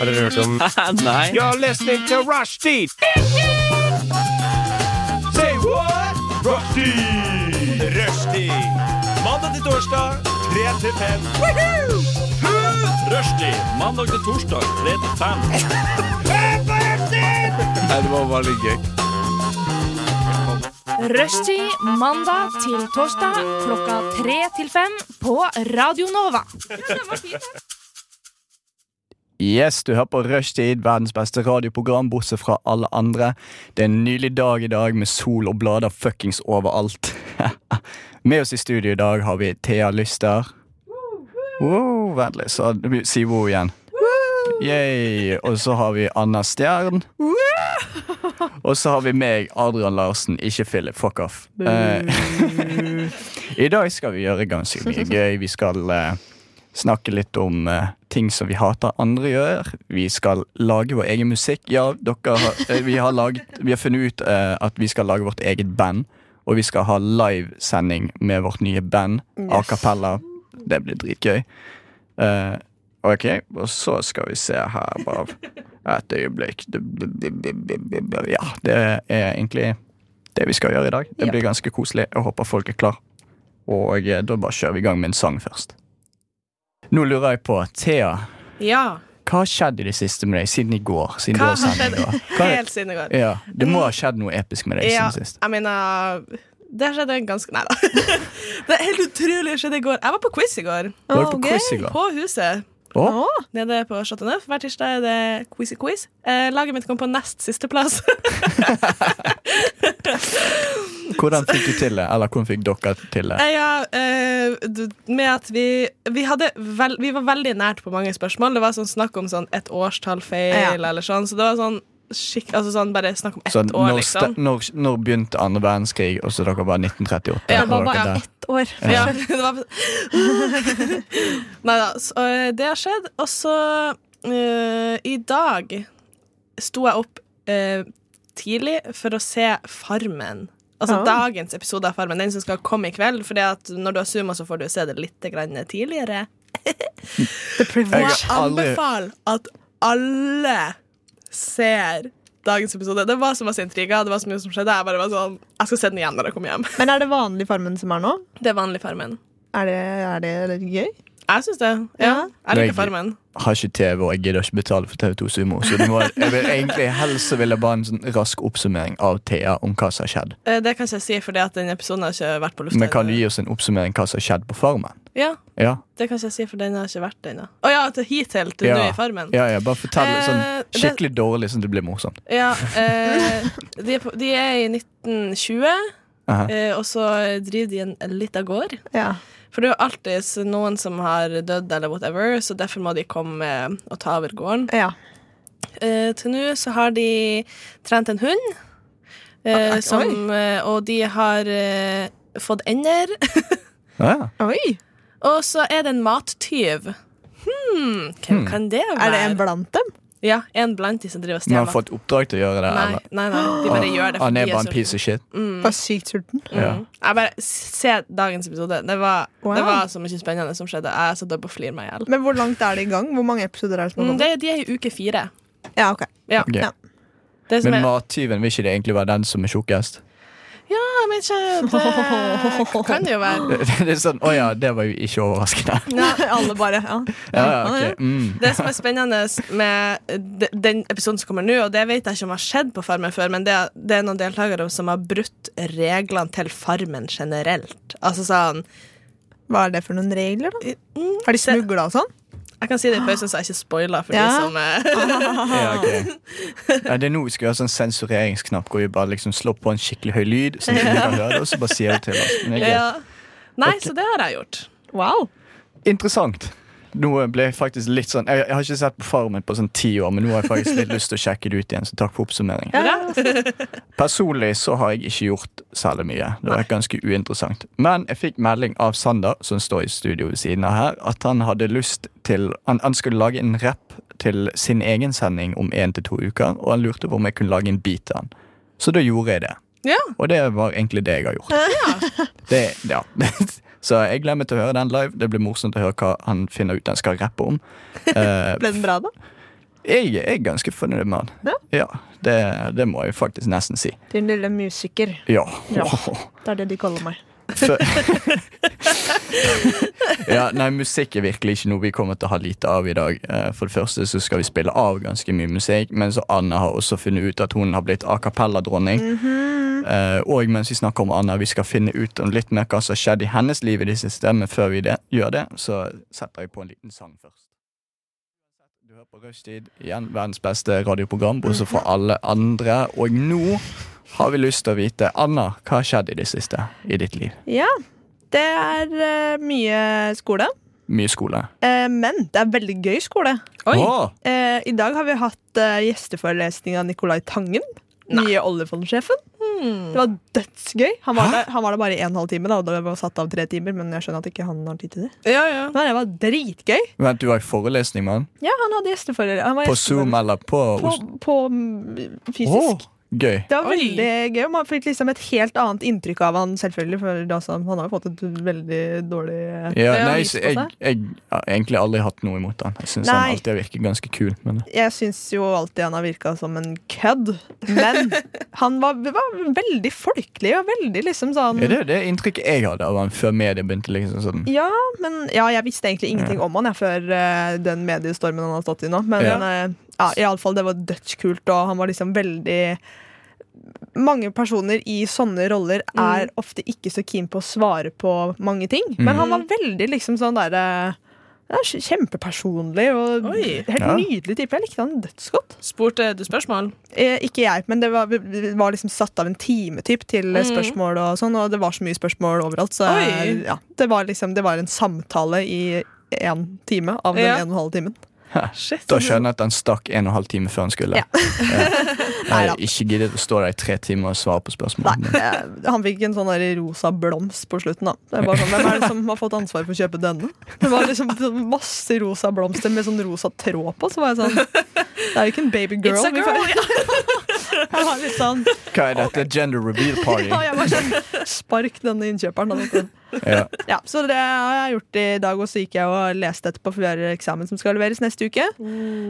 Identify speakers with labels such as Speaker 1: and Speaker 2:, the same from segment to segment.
Speaker 1: Har dere hørt om
Speaker 2: Nei.
Speaker 3: You're listening to Rushdie. Say what? Rushdie. Rushdie. Mandag til torsdag, 3 til 5. Rushdie. Mandag til torsdag, 3 til 5.
Speaker 2: Nei, det var bare litt gøy.
Speaker 4: Rushtid mandag til torsdag klokka tre til fem på Radio Nova.
Speaker 5: Yes, du hører på Rushtid, verdens beste radioprogram, bortsett fra alle andre. Det er en nylig dag i dag med sol og blader fuckings overalt. med oss i studio i dag har vi Thea Lyster. Wow, vent litt, så si wow igjen. Yay. Og så har vi Anna Stjern. Og så har vi meg, Adrian Larsen, ikke Philip. Fuck off. Eh, I dag skal vi gjøre ganske mye gøy. Vi skal eh, snakke litt om eh, ting som vi hater andre gjør. Vi skal lage vår egen musikk. Ja, dere har, eh, vi, har laget, vi har funnet ut eh, at vi skal lage vårt eget band. Og vi skal ha livesending med vårt nye band, A Cappella. Det blir dritgøy. Eh, ok, og så skal vi se her, bare et øyeblikk. Ja, det er egentlig det vi skal gjøre i dag. Det blir ganske koselig. Jeg håper folk er klar. Og eh, da bare kjører vi i gang med en sang først. Nå lurer jeg på, Thea,
Speaker 6: Ja.
Speaker 5: hva har skjedd i det siste med deg siden i går? Siden
Speaker 6: Hva
Speaker 5: du har
Speaker 6: har skjedd
Speaker 5: sendt i går? Hva-
Speaker 6: helt siden i går?
Speaker 5: Ja, det må ha skjedd noe episk med deg
Speaker 6: Ja,
Speaker 5: siden sist.
Speaker 6: jeg mener Det skjedde en ganske Nei da. Det er helt utrolig skjedde i går. Jeg var på quiz i går.
Speaker 5: Var du på quiz i går?
Speaker 6: På Huset.
Speaker 5: Å?
Speaker 6: Nede på Chateau Neuf. Hver tirsdag er det quiz i quiz. Eh, laget mitt kom på nest siste plass.
Speaker 5: Hvordan fikk du til det? Eller hvordan fikk dere til det?
Speaker 6: Eh, ja, eh, du- med at vi vi, hadde vel, vi var veldig nært på mange spørsmål. Det var sånn snakk om sånn et årstall feil eller sånn. Så det var sånn skikk, altså sånn bare snakk om ett
Speaker 5: Så
Speaker 6: år,
Speaker 5: når,
Speaker 6: liksom.
Speaker 5: sta- når, når begynte andre verdenskrig, og så dere var 1938?
Speaker 6: Ja,
Speaker 5: og
Speaker 6: det
Speaker 5: dere
Speaker 6: var bare
Speaker 5: der.
Speaker 1: ett år?
Speaker 6: Ja, det var Nei da, så eh, det har skjedd. Og så eh, i dag sto jeg opp eh, tidlig for å se Farmen. Altså dagens episode av Farmen, den som skal komme i kveld. For når du har Zuma, så får du se det litt grann tidligere.
Speaker 1: The
Speaker 5: Jeg
Speaker 6: Og
Speaker 1: privilege.
Speaker 5: har
Speaker 6: jeg
Speaker 5: aldri-
Speaker 6: anbefaler at alle ser dagens episode. Det var så masse intriger, det var så mye som skjedde. Jeg bare var sånn, jeg skal se den igjen når jeg kommer hjem.
Speaker 7: Men er det vanlig Farmen som er nå?
Speaker 6: Det er vanlig Farmen.
Speaker 7: Er det, er det litt gøy?
Speaker 6: Jeg syns det. Ja,
Speaker 7: Ja.
Speaker 6: jeg
Speaker 5: Det er
Speaker 6: liker Farmen.
Speaker 5: har ikke TV, og jeg gidder ikke betale for TV2 Sumo. Så det må, jeg vil egentlig helst så vil jeg bare en sånn rask oppsummering av Thea om hva som har skjedd.
Speaker 6: Eh, Det kan ikke jeg si, for den episoden har ikke vært på lufta.
Speaker 5: Men kan du gi oss en oppsummering hva som har skjedd på Farmen?
Speaker 6: Ja,
Speaker 5: Ja,
Speaker 6: det kan ikke jeg si, for den har ikke vært ennå. Å ja, til hittil til
Speaker 5: ja.
Speaker 6: nå i Farmen?
Speaker 5: ja, ja bare fortell det sånn
Speaker 6: Eh, det-
Speaker 5: skikkelig dårlig, sånn at det blir morsomt.
Speaker 6: Ja, eh, de, er på, de er i 1920,
Speaker 5: Aha.
Speaker 6: eh, og så driver de en lita gård.
Speaker 7: Ja.
Speaker 6: For det er jo alltid s- noen som har dødd eller whatever, så derfor må de komme eh, og ta over gården.
Speaker 7: ja.
Speaker 6: Eh, til nå så har de trent en hund,
Speaker 5: Ah,
Speaker 6: eh,
Speaker 7: Oi.
Speaker 6: som, eh, og de har eh, fått ender.
Speaker 5: Ja, ja.
Speaker 7: Oi!
Speaker 6: Og så er det en mattyv. Hmm, hvem kan det være?
Speaker 7: Er det en blant dem?
Speaker 6: Ja, en blant de som driver og
Speaker 5: Men han
Speaker 6: stjeler.
Speaker 5: har fått oppdrag til å gjøre det?
Speaker 6: Nei,
Speaker 5: eller?
Speaker 6: nei, nei, de bare gjør
Speaker 5: Han
Speaker 6: det. fordi
Speaker 5: Ah, er bare en
Speaker 6: jeg så-
Speaker 5: piece of shit.
Speaker 7: Var sykt sulten.
Speaker 5: Ja.
Speaker 6: Mm. Jeg bare Se dagens episode. Det var, det
Speaker 7: Wow.
Speaker 6: var så mye spennende som skjedde. Jeg satt opp og flirte meg i hjel.
Speaker 7: Men hvor langt er det i gang? Hvor mange episoder er det som har
Speaker 6: Mm,
Speaker 7: kommet?
Speaker 6: det- De er i uke fire.
Speaker 7: Ja, ok.
Speaker 6: Ja.
Speaker 5: Ok.
Speaker 7: Ja.
Speaker 6: Det som
Speaker 5: Men
Speaker 6: er,
Speaker 5: mattyven, vil ikke det egentlig være den som er tjukkest?
Speaker 6: ja, men ikke Det kan det jo være.
Speaker 5: Det det er sånn, Å ja, det var jo ikke overraskende.
Speaker 7: Alle bare ja.
Speaker 5: Ja, ja, ok, mm.
Speaker 6: Det som er spennende med de- den episoden som kommer nå, og det vet jeg ikke om har skjedd på Farmen før, men det er, det er noen deltakere som har brutt reglene til Farmen generelt. Altså sånn
Speaker 7: Hva er det for noen regler, da? Har de smugla og sånn?
Speaker 6: Jeg kan si det i pausen, så jeg ikke spoiler for de
Speaker 7: Ja.
Speaker 6: som eh,
Speaker 5: Ja, ok. Ja, det er nå vi skal gjøre sånn sensureringsknapp, hvor vi bare liksom slår på en skikkelig høy lyd, sånn at ingen kan høre det, og så bare sier det til oss. Men det er greit.
Speaker 6: ja. Nei, så det har jeg gjort.
Speaker 7: Wow.
Speaker 5: Interessant. Nå ble jeg faktisk litt sånn Jeg, jeg har ikke sett på Farmen på sånn ti år, men nå har jeg faktisk litt lyst til å sjekke det ut igjen, så takk for oppsummeringen. Personlig så har jeg ikke gjort særlig mye. Det var ganske uinteressant. Men jeg fikk melding av Sander, som står i studio ved siden av her, at han hadde lyst til Han, han skulle lage en rapp til sin egen sending om én til to uker, og han lurte på om jeg kunne lage en bit av den. Så da gjorde jeg det.
Speaker 6: Ja.
Speaker 5: Og det var egentlig det jeg har gjort. Det, ja. Så jeg glemmer til å høre den live. Det blir morsomt å høre hva han finner ut han skal rappe om. Eh,
Speaker 7: Ble den bra, da?
Speaker 5: Jeg, jeg er ganske fornøyd med han.
Speaker 7: Ja?
Speaker 5: det, det må jeg faktisk nesten si.
Speaker 7: Din lille musiker.
Speaker 5: Ja.
Speaker 7: Ja. Det er det de kaller meg.
Speaker 5: Fø- ja, nei, musikk er virkelig ikke noe vi kommer til å ha lite av i dag. Eh, For det første så skal vi spille av ganske mye musikk, men så Anna har også funnet ut at hun har blitt a cappella-dronning. Eh, Og mens vi snakker om Anna, vi skal finne ut om litt mer hva som har skjedd i hennes liv i det siste, men før vi det, gjør det, så setter jeg på en liten sang først. Du hører på Rushtid, igjen verdens beste radioprogram, bortsett fra alle andre, og nå har vi lyst til å vite, Anna, hva har skjedd i det siste i ditt liv?
Speaker 7: Ja. Det er eh, mye skole.
Speaker 5: Mye skole.
Speaker 7: Eh, men det er veldig gøy skole.
Speaker 5: Åh,
Speaker 7: Eh, I dag har vi hatt eh, gjesteforelesning av Nicolai Tangen. Nye oljefondsjefen. Det var dødsgøy. Han var, der, han var der bare i en halv time, da, og det var satt av tre timer. Men jeg skjønner at ikke han har tid til det.
Speaker 6: Ja, ja.
Speaker 7: Men det var dritgøy.
Speaker 5: vent, du var i forelesning med han?
Speaker 7: Ja, han hadde gjesteforelesning. Han var
Speaker 5: På
Speaker 7: gjesteforelesning.
Speaker 5: Zoom eller på
Speaker 7: På,
Speaker 5: Oslo?
Speaker 7: på mm, fysisk.
Speaker 5: gøy.
Speaker 7: Det var
Speaker 6: Oi.
Speaker 7: veldig gøy. og Man fikk liksom et helt annet inntrykk av han, selvfølgelig. For da så- han har jo fått et veldig dårlig eh,
Speaker 5: Ja,
Speaker 6: Ja,
Speaker 5: nei,
Speaker 7: vis
Speaker 5: så
Speaker 7: på
Speaker 5: jeg,
Speaker 7: seg.
Speaker 5: jeg har egentlig aldri hatt noe imot han. Jeg syns han
Speaker 7: Nei.
Speaker 5: alltid virker ganske kul. Men
Speaker 7: Jeg syns jo alltid han har virka som en kødd, men han var, var veldig folkelig og veldig liksom sånn
Speaker 5: er det det inntrykket jeg hadde av han før media begynte? liksom sånn
Speaker 7: Ja, men ja, jeg visste egentlig ingenting om han jeg, før eh, den mediestormen han har stått i nå. Men
Speaker 5: Ja.
Speaker 7: ja. ja, iallfall, det var dødskult, og han var liksom veldig mange personer i sånne roller er ofte ikke så keen på å svare på mange ting.
Speaker 5: Mm.
Speaker 7: Men han var veldig liksom sånn derre ja, kjempepersonlig og
Speaker 6: Oi.
Speaker 7: helt
Speaker 5: Ja.
Speaker 7: nydelig type. Jeg likte han dødsgodt.
Speaker 6: Spurte du spørsmål?
Speaker 7: Eh, ikke jeg, men det var, det var liksom satt av en time typ, til eh, spørsmål og sånn, og det var så mye spørsmål overalt, så
Speaker 6: Mm. Oi.
Speaker 7: ja, det, var liksom, det var en samtale i én time av den
Speaker 6: Ja.
Speaker 7: en og en halv timen.
Speaker 6: Shit.
Speaker 5: Da skjønner jeg at han stakk en og en halv time før han skulle.
Speaker 7: Ja.
Speaker 5: Jeg har ikke giddet å stå der i tre timer og svare på spørsmål.
Speaker 7: Nei, eh, han fikk en sånn der rosa blomst på slutten, da. Det var sånn, Hvem er det som har fått ansvar for å kjøpe denne? Det var liksom sånn masse rosa blomster med sånn rosa tråd på, så var jeg sånn Det er jo ikke en babygirl.
Speaker 6: It's a
Speaker 7: vi
Speaker 6: girl,
Speaker 7: får- Jeg var litt sånn
Speaker 5: Hva er dette? Gender reveal party?
Speaker 7: Ja, jeg var sånn Spark denne innkjøperen, da. vet du.
Speaker 5: Ja.
Speaker 7: Ja, så det har jeg gjort i dag, og så gikk jeg og leste etterpå, for vi har eksamen som skal leveres neste uke.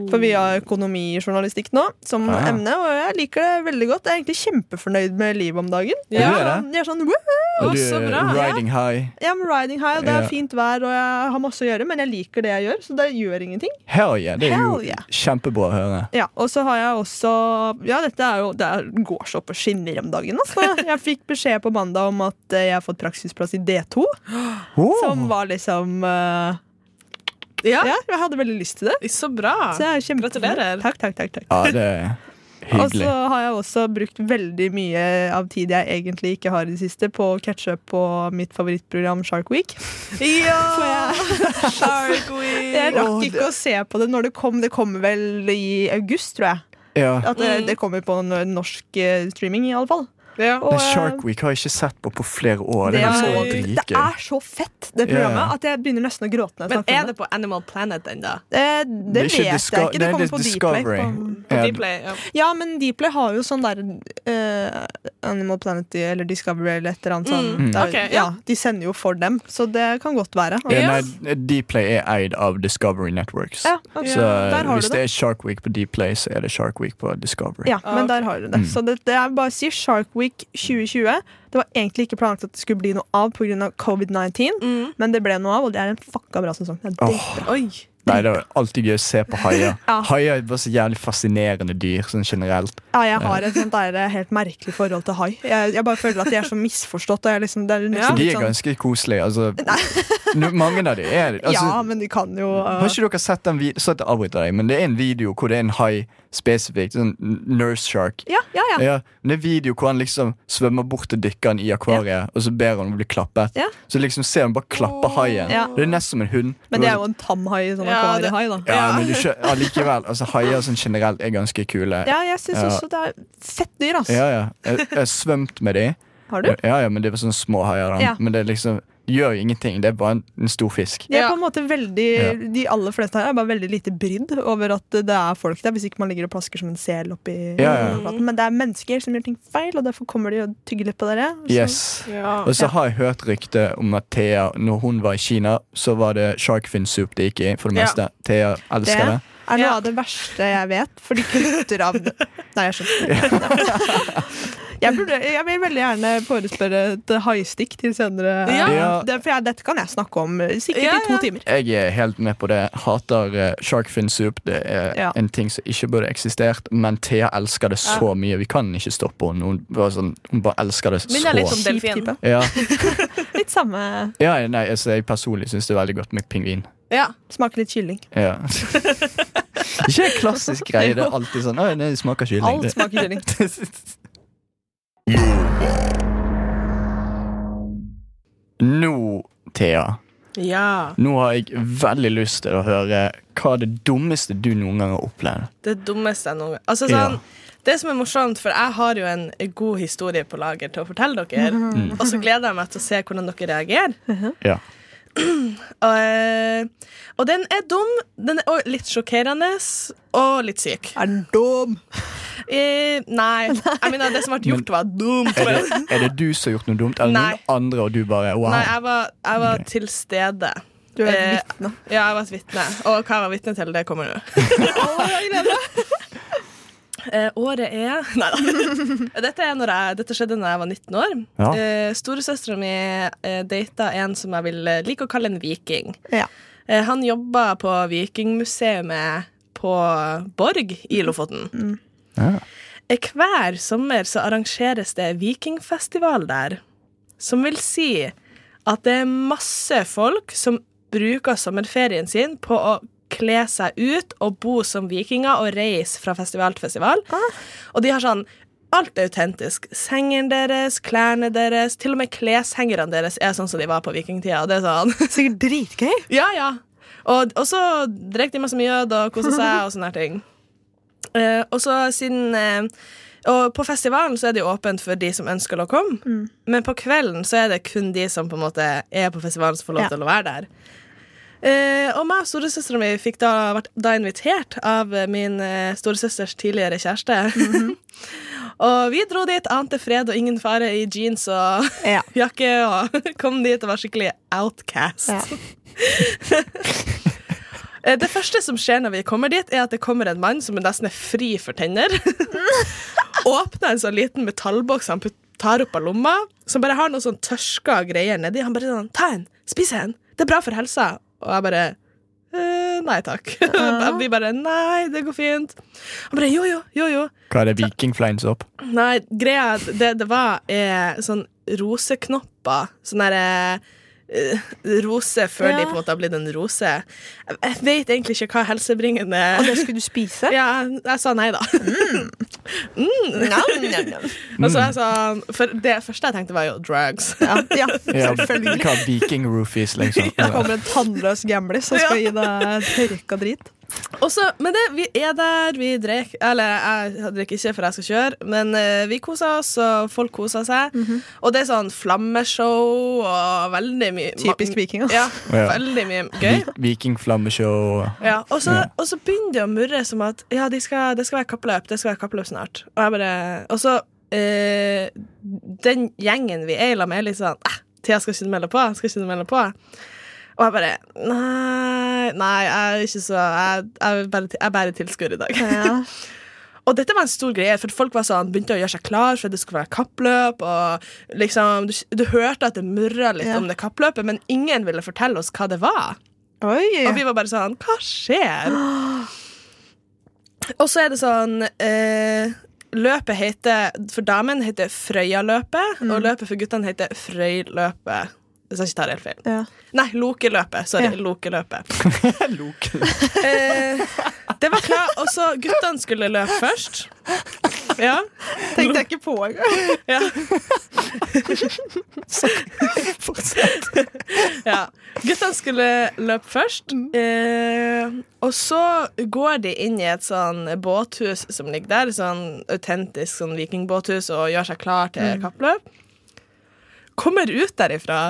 Speaker 7: For vi har økonomijournalistikk nå som
Speaker 5: Ah.
Speaker 7: emne, og jeg liker det veldig godt. Jeg er egentlig kjempefornøyd med livet om dagen.
Speaker 5: Ja, du er det?
Speaker 7: Jeg er sånn, woo,
Speaker 5: Og du
Speaker 6: Å, så
Speaker 5: er
Speaker 6: bra, ja.
Speaker 5: riding high.
Speaker 7: I'm riding high, og det
Speaker 5: Ja.
Speaker 7: er fint vær, og jeg har masse å gjøre, men jeg liker det jeg gjør, så det gjør ingenting.
Speaker 5: Hell yeah. Det er jo
Speaker 7: Hell yeah.
Speaker 5: kjempebra å høre.
Speaker 7: Ja, og så har jeg også Ja, dette er jo Det er- går så opp og skinner om dagen, altså. Jeg fikk beskjed på mandag om at eh, jeg har fått praksisplass i D2, som
Speaker 5: Åh,
Speaker 7: var liksom eh,
Speaker 6: Ja.
Speaker 7: Ja, jeg hadde veldig lyst til det.
Speaker 6: Så bra.
Speaker 7: Så jeg er kjempe-
Speaker 6: Gratulerer.
Speaker 7: Takk, takk, takk, takk.
Speaker 5: Ja, det er
Speaker 7: Og så
Speaker 5: hyggelig.
Speaker 7: har jeg også brukt veldig mye av tid jeg egentlig ikke har i det siste, på å catche up på mitt favorittprogram Shark Week. For jeg,
Speaker 6: Shark Week.
Speaker 7: jeg
Speaker 5: Åh,
Speaker 7: rakk
Speaker 5: det-
Speaker 7: ikke å se på det når det kom. Det kommer vel i august, tror jeg.
Speaker 5: Ja.
Speaker 7: At det,
Speaker 6: Mm.
Speaker 7: det kommer på n- norsk eh, streaming, i alle fall.
Speaker 6: Ja.
Speaker 7: Og,
Speaker 5: Men
Speaker 7: eh,
Speaker 5: Shark Week har jeg ikke sett på på flere år. Det
Speaker 7: det
Speaker 5: er
Speaker 6: er-
Speaker 5: så
Speaker 7: er- det
Speaker 5: dritgøy.
Speaker 7: er så fett, det
Speaker 5: Ja.
Speaker 7: programmet, at jeg begynner nesten å gråte. når jeg
Speaker 6: Men
Speaker 7: snakker
Speaker 6: er
Speaker 7: om
Speaker 6: det på Animal Planet ennå?
Speaker 7: Eh, det
Speaker 5: Det er
Speaker 7: vet
Speaker 5: ikke
Speaker 7: jeg
Speaker 5: Disco-
Speaker 7: ikke. Det
Speaker 5: nei,
Speaker 7: kommer
Speaker 5: det er
Speaker 7: på Dplay.
Speaker 5: Discovery.
Speaker 7: på-
Speaker 5: Ja,
Speaker 6: Dplay, ja.
Speaker 7: Ja, men Deeplay har jo sånn der eh, Animal Planet eller Discovery eller et eller annet sånn.
Speaker 5: Mm.
Speaker 7: Der,
Speaker 6: Ok, ja.
Speaker 7: ja. De sender jo for dem, så det kan godt være.
Speaker 5: Ja,
Speaker 6: Ja.
Speaker 5: nei, Dplay er eid av Discovery Networks.
Speaker 7: Ja, ok.
Speaker 5: Så
Speaker 7: der har
Speaker 5: hvis
Speaker 7: du
Speaker 5: det
Speaker 7: det.
Speaker 5: er Shark Week på Dplay, så er det Shark Week på Discovery.
Speaker 7: Ja,
Speaker 6: Ah,
Speaker 7: men
Speaker 6: ok.
Speaker 7: der har du
Speaker 5: Mm.
Speaker 7: det. Så det, det er bare å si Shark Week 2020. Det var egentlig ikke planlagt at det skulle bli noe av pga. covid-19,
Speaker 6: Mm.
Speaker 7: men det ble noe av, og det er en fucka bra sesong. Det er
Speaker 5: Åh,
Speaker 7: dritbra.
Speaker 6: Oi.
Speaker 5: nei, det er alltid gøy å se på haier.
Speaker 7: Ja.
Speaker 5: Haier er bare så jævlig fascinerende dyr sånn generelt.
Speaker 7: Ja, jeg har et sånt der eh, helt merkelig forhold til hai. Jeg, jeg bare føler at de er så misforstått. Og jeg liksom, det er nesten
Speaker 5: De
Speaker 7: litt
Speaker 5: er
Speaker 7: sånn,
Speaker 5: ganske koselige. Altså, Nå- mange av de er det. Altså,
Speaker 7: ja, men de kan jo eh,
Speaker 5: Har ikke dere sett den videoen? Så at jeg avbryter deg, men det er en video hvor det er en hai spesifikt. Sånn nurse shark.
Speaker 7: ja, ja, ja.
Speaker 5: Ja, men det er video hvor han liksom svømmer bort til dykkeren i akvariet, og så ber han om å bli klappet.
Speaker 7: Ja.
Speaker 5: Så liksom ser han bare klappe haien.
Speaker 7: Ja.
Speaker 5: Det er nesten som en hund.
Speaker 7: Men det er jo en tam hai. Sånn
Speaker 6: Ja, det-
Speaker 7: akvariehai, da.
Speaker 5: Ja, men du skjø- allikevel. altså, haier sånn generelt er ganske kule.
Speaker 7: Ja, jeg syns
Speaker 5: Ja.
Speaker 7: også det er fett dyr, ass.
Speaker 5: ja. ja. Jeg, jeg har svømt med de.
Speaker 7: Har du?
Speaker 5: Ja, ja, men det var sånne små haier. da.
Speaker 7: Ja.
Speaker 5: Men det er liksom de gjør jo ingenting. Det er bare en, en stor fisk.
Speaker 7: De er
Speaker 6: Ja.
Speaker 7: på en måte veldig
Speaker 5: Ja.
Speaker 7: De aller fleste her er bare veldig lite brydd over at det er folk der, hvis ikke man ligger og plasker som en sel oppi
Speaker 5: Ja, ja.
Speaker 7: overflaten. Men det er mennesker som gjør ting feil, og derfor kommer de og tygger litt på dere. og så-
Speaker 5: Yes.
Speaker 6: Ah, Ja.
Speaker 5: Og så har jeg hørt rykte om at Thea, når hun var i Kina, så var det shark fin soup det gikk i, for det
Speaker 6: Ja.
Speaker 5: meste. Thea
Speaker 7: Det
Speaker 5: elsker det.
Speaker 7: er noe
Speaker 6: Ja.
Speaker 7: av det verste jeg vet, for de kutter av det. Nei, jeg skjønner ikke. Jeg, burde, jeg vil veldig gjerne forespørre et haistick til senere.
Speaker 6: Ja.
Speaker 5: Ja.
Speaker 7: Det, for jeg, dette kan jeg snakke om eh, sikkert
Speaker 6: Ja,
Speaker 7: i to
Speaker 6: ja.
Speaker 7: timer.
Speaker 5: Jeg er helt med på det. Hater eh, shark fin soup. Det er
Speaker 7: Ja.
Speaker 5: en ting som ikke burde eksistert, men Thea elsker det så mye. Vi kan ikke stoppe henne. Hun, bare sånn, hun bare elsker det
Speaker 6: Minner litt
Speaker 5: så
Speaker 6: om delfin.
Speaker 7: Kjip type.
Speaker 5: ja.
Speaker 7: Litt samme.
Speaker 5: ja, nei, altså, Jeg personlig syns det er veldig godt med pingvin.
Speaker 6: Ja.
Speaker 7: Smaker litt kylling.
Speaker 5: Ja. ikke en klassisk greie. Det er alltid sånn Å, nei, det smaker kylling.
Speaker 7: Alt
Speaker 5: Det-
Speaker 7: smaker kylling.
Speaker 5: Nå, Thea,
Speaker 6: ja.
Speaker 5: nå har jeg veldig lyst til å høre hva det dummeste du noen gang har opplevd.
Speaker 6: Det dummeste jeg noen gang Altså
Speaker 5: Ja.
Speaker 6: sånn Det som er morsomt, for jeg har jo en god historie på lager til å fortelle dere, og så gleder jeg meg til å se hvordan dere reagerer.
Speaker 5: Ja.
Speaker 6: Og, eh, og den er dum, den er og litt sjokkerende og litt syk.
Speaker 7: Er den dum?
Speaker 6: Eh, nei, jeg mener det som ble gjort, var dumt.
Speaker 5: Er det, er det du som har gjort noe dumt, eller
Speaker 6: Nei.
Speaker 5: noen andre, og du bare wow?
Speaker 6: Nei, jeg var, jeg var til stede.
Speaker 7: Du er
Speaker 6: Eh,
Speaker 7: et vitne.
Speaker 6: Ja, jeg var et vitne. Og hva jeg var vitne til, det kommer nå. Eh, året er Nei da. Dette, er når jeg, dette skjedde da jeg var 19 år.
Speaker 5: Ja.
Speaker 6: Eh, Storesøstera mi eh, data en som jeg vil eh, like å kalle en viking.
Speaker 7: Ja.
Speaker 6: Eh, han jobba på Vikingmuseet på Borg i Lofoten.
Speaker 5: Ja.
Speaker 6: Eh, Hver sommer så arrangeres det vikingfestival der, som vil si at det er masse folk som bruker sommerferien sin på å kle seg ut og bo som vikinger og reise fra festival til festival. Og de har sånn Alt er autentisk. Sengen deres, klærne deres, til og med kleshengerne deres er sånn som de var på vikingtida. og Det er sånn
Speaker 7: Sikkert dritgøy.
Speaker 6: ja, ja. Og, og så drekk de masse mjød og kosa seg og sånne her ting. Eh, og så siden eh, Og på festivalen så er det jo åpent for de som ønsker å komme,
Speaker 7: Mm.
Speaker 6: men på kvelden så er det kun de som på en måte er på festivalen, som får lov
Speaker 7: Ja.
Speaker 6: til å være der. Eh, og meg og storesøstera mi fikk da, vært da invitert av eh, min eh, storesøsters tidligere kjæreste.
Speaker 7: Mhm.
Speaker 6: og vi dro dit, ante fred og ingen fare i jeans og
Speaker 7: Ja.
Speaker 6: jakke, og kom dit og var skikkelig outcast.
Speaker 7: Ja.
Speaker 6: Eh, Det første som skjer når vi kommer dit, er at det kommer en mann som er nesten er fri for tenner. Åpner en sånn liten metallboks han put- tar opp av lomma, som bare har noen sånn tørska greier nedi. Han bare sånn Ta en! Spis en! Det er bra for helsa. Og jeg bare «Eh, Nei takk. vi bare Nei, det går fint. Han bare Jo, jo, jo, jo.
Speaker 5: Hva er det vikingfleinsopp?
Speaker 6: Nei, greia er at det, det var eh, sånn roseknopper. Sånn derre eh, Rose før
Speaker 7: Ja.
Speaker 6: de på en måte har blitt en rose. Jeg- Jeg vet egentlig ikke hva helsebringende
Speaker 7: Og det skulle du spise?
Speaker 6: Ja, jeg, jeg sa nei, da.
Speaker 7: Nam, nam, nam.
Speaker 6: Og så jeg sa, for det første jeg tenkte, var jo drugs.
Speaker 7: Ja, ja,
Speaker 5: Ja,
Speaker 7: selvfølgelig.
Speaker 5: hva er viking-roofies, liksom?
Speaker 7: Det kommer en tannløs gamlis som skal gi deg tørka drit.
Speaker 6: Og så, men det, vi er der, vi drek Eller jeg drikker ikke, for jeg skal kjøre, men eh, vi koser oss, og folk koser seg.
Speaker 7: Mhm.
Speaker 6: Og det er sånn flammeshow og veldig mye
Speaker 7: Typisk viking, ass.
Speaker 6: Ja,
Speaker 5: Ja.
Speaker 6: veldig mye gøy.
Speaker 5: Vi- Vikingflammeshow.
Speaker 6: Ja, og så,
Speaker 5: Ja.
Speaker 6: og så begynner det å murre som at ja, de skal, det skal være kappløp, det skal være kappløp snart. Og jeg bare Og så eh, Den gjengen vi er i lag med, er litt sånn eh, Thea skal ikke du melde på, skal ikke du melde på. Og jeg bare Nei, nei, jeg er ikke så Jeg, jeg, er bare, jeg er bare tilskuer i dag.
Speaker 7: Ja.
Speaker 6: Og dette var en stor greie, for folk var sånn, begynte å gjøre seg klar for at det skulle være kappløp. Og liksom, du, du hørte at det murra litt
Speaker 7: Ja.
Speaker 6: om det kappløpet, men ingen ville fortelle oss hva det var. Og
Speaker 7: Oi!
Speaker 6: vi var bare sånn Hva skjer? Og så er det sånn eh, Løpet heter For damen heter Frøyaløpet,
Speaker 7: Mm.
Speaker 6: og løpet for guttene heter Frøyløpet. Hvis jeg ikke tar helt feil.
Speaker 7: Ja.
Speaker 6: Nei, Lokeløpet. Sorry.
Speaker 7: Ja.
Speaker 6: Lokeløpet.
Speaker 5: Lokeløp.
Speaker 6: Eh, det var klart. Og så guttene skulle løpe først. Ja.
Speaker 7: Tenkte jeg ikke på engang.
Speaker 6: ja. ja. Guttene skulle løpe først. Eh, og så går de inn i et sånn båthus som ligger der, sånn autentisk sånn vikingbåthus, og gjør seg klar til kappløp. Kommer ut derifra.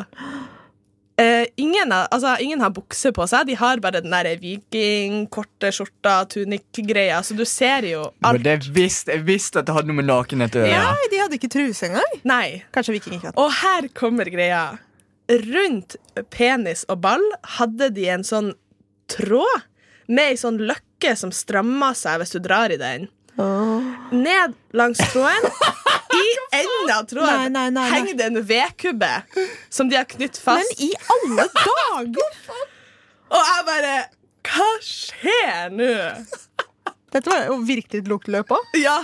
Speaker 6: Eh, ingen, har- altså, ingen har bukse på seg. De har bare den der viking, korte skjorta, tunikk-greia, så du ser jo alt.
Speaker 5: Men det visste, jeg visste at det hadde noe med nakenhet å gjøre.
Speaker 7: Nei, de hadde ikke truse engang.
Speaker 6: Nei.
Speaker 7: Kanskje viking ikke hadde.
Speaker 6: Og her kommer greia. Rundt penis og ball hadde de en sånn tråd med ei sånn løkke klokke som strammer seg hvis du drar i den. Ned langs tråden. I enden av
Speaker 7: Nei,
Speaker 6: tråden
Speaker 7: nei, nei, nei.
Speaker 6: henger det en vedkubbe som de har knytt fast.
Speaker 7: Men i alle dager!
Speaker 6: Og jeg bare Hva skjer nå?
Speaker 7: Dette var jo virkelig et luktløp òg.
Speaker 6: Ja.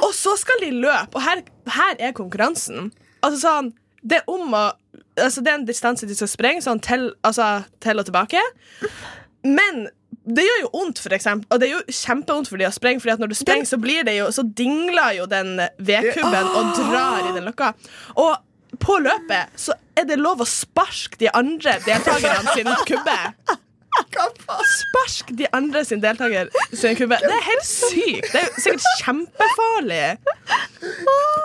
Speaker 6: Og så skal de løpe, og her, her er konkurransen. Altså sånn Det er om å Altså det er en distanse de skal sprenge, sånn til, altså, til og tilbake. Men det gjør jo vondt, for eksempel. Og det er jo kjempevondt for de å sprenge, Fordi at når du sprenger, så blir det jo Så dingler jo den vedkubben og drar i den lokka. Og på løpet så er det lov å sparke de andre deltakerne sin kubbe. Spark de andre sin deltaker sin kubbe. Det er helt sykt. Det er jo sikkert kjempefarlig.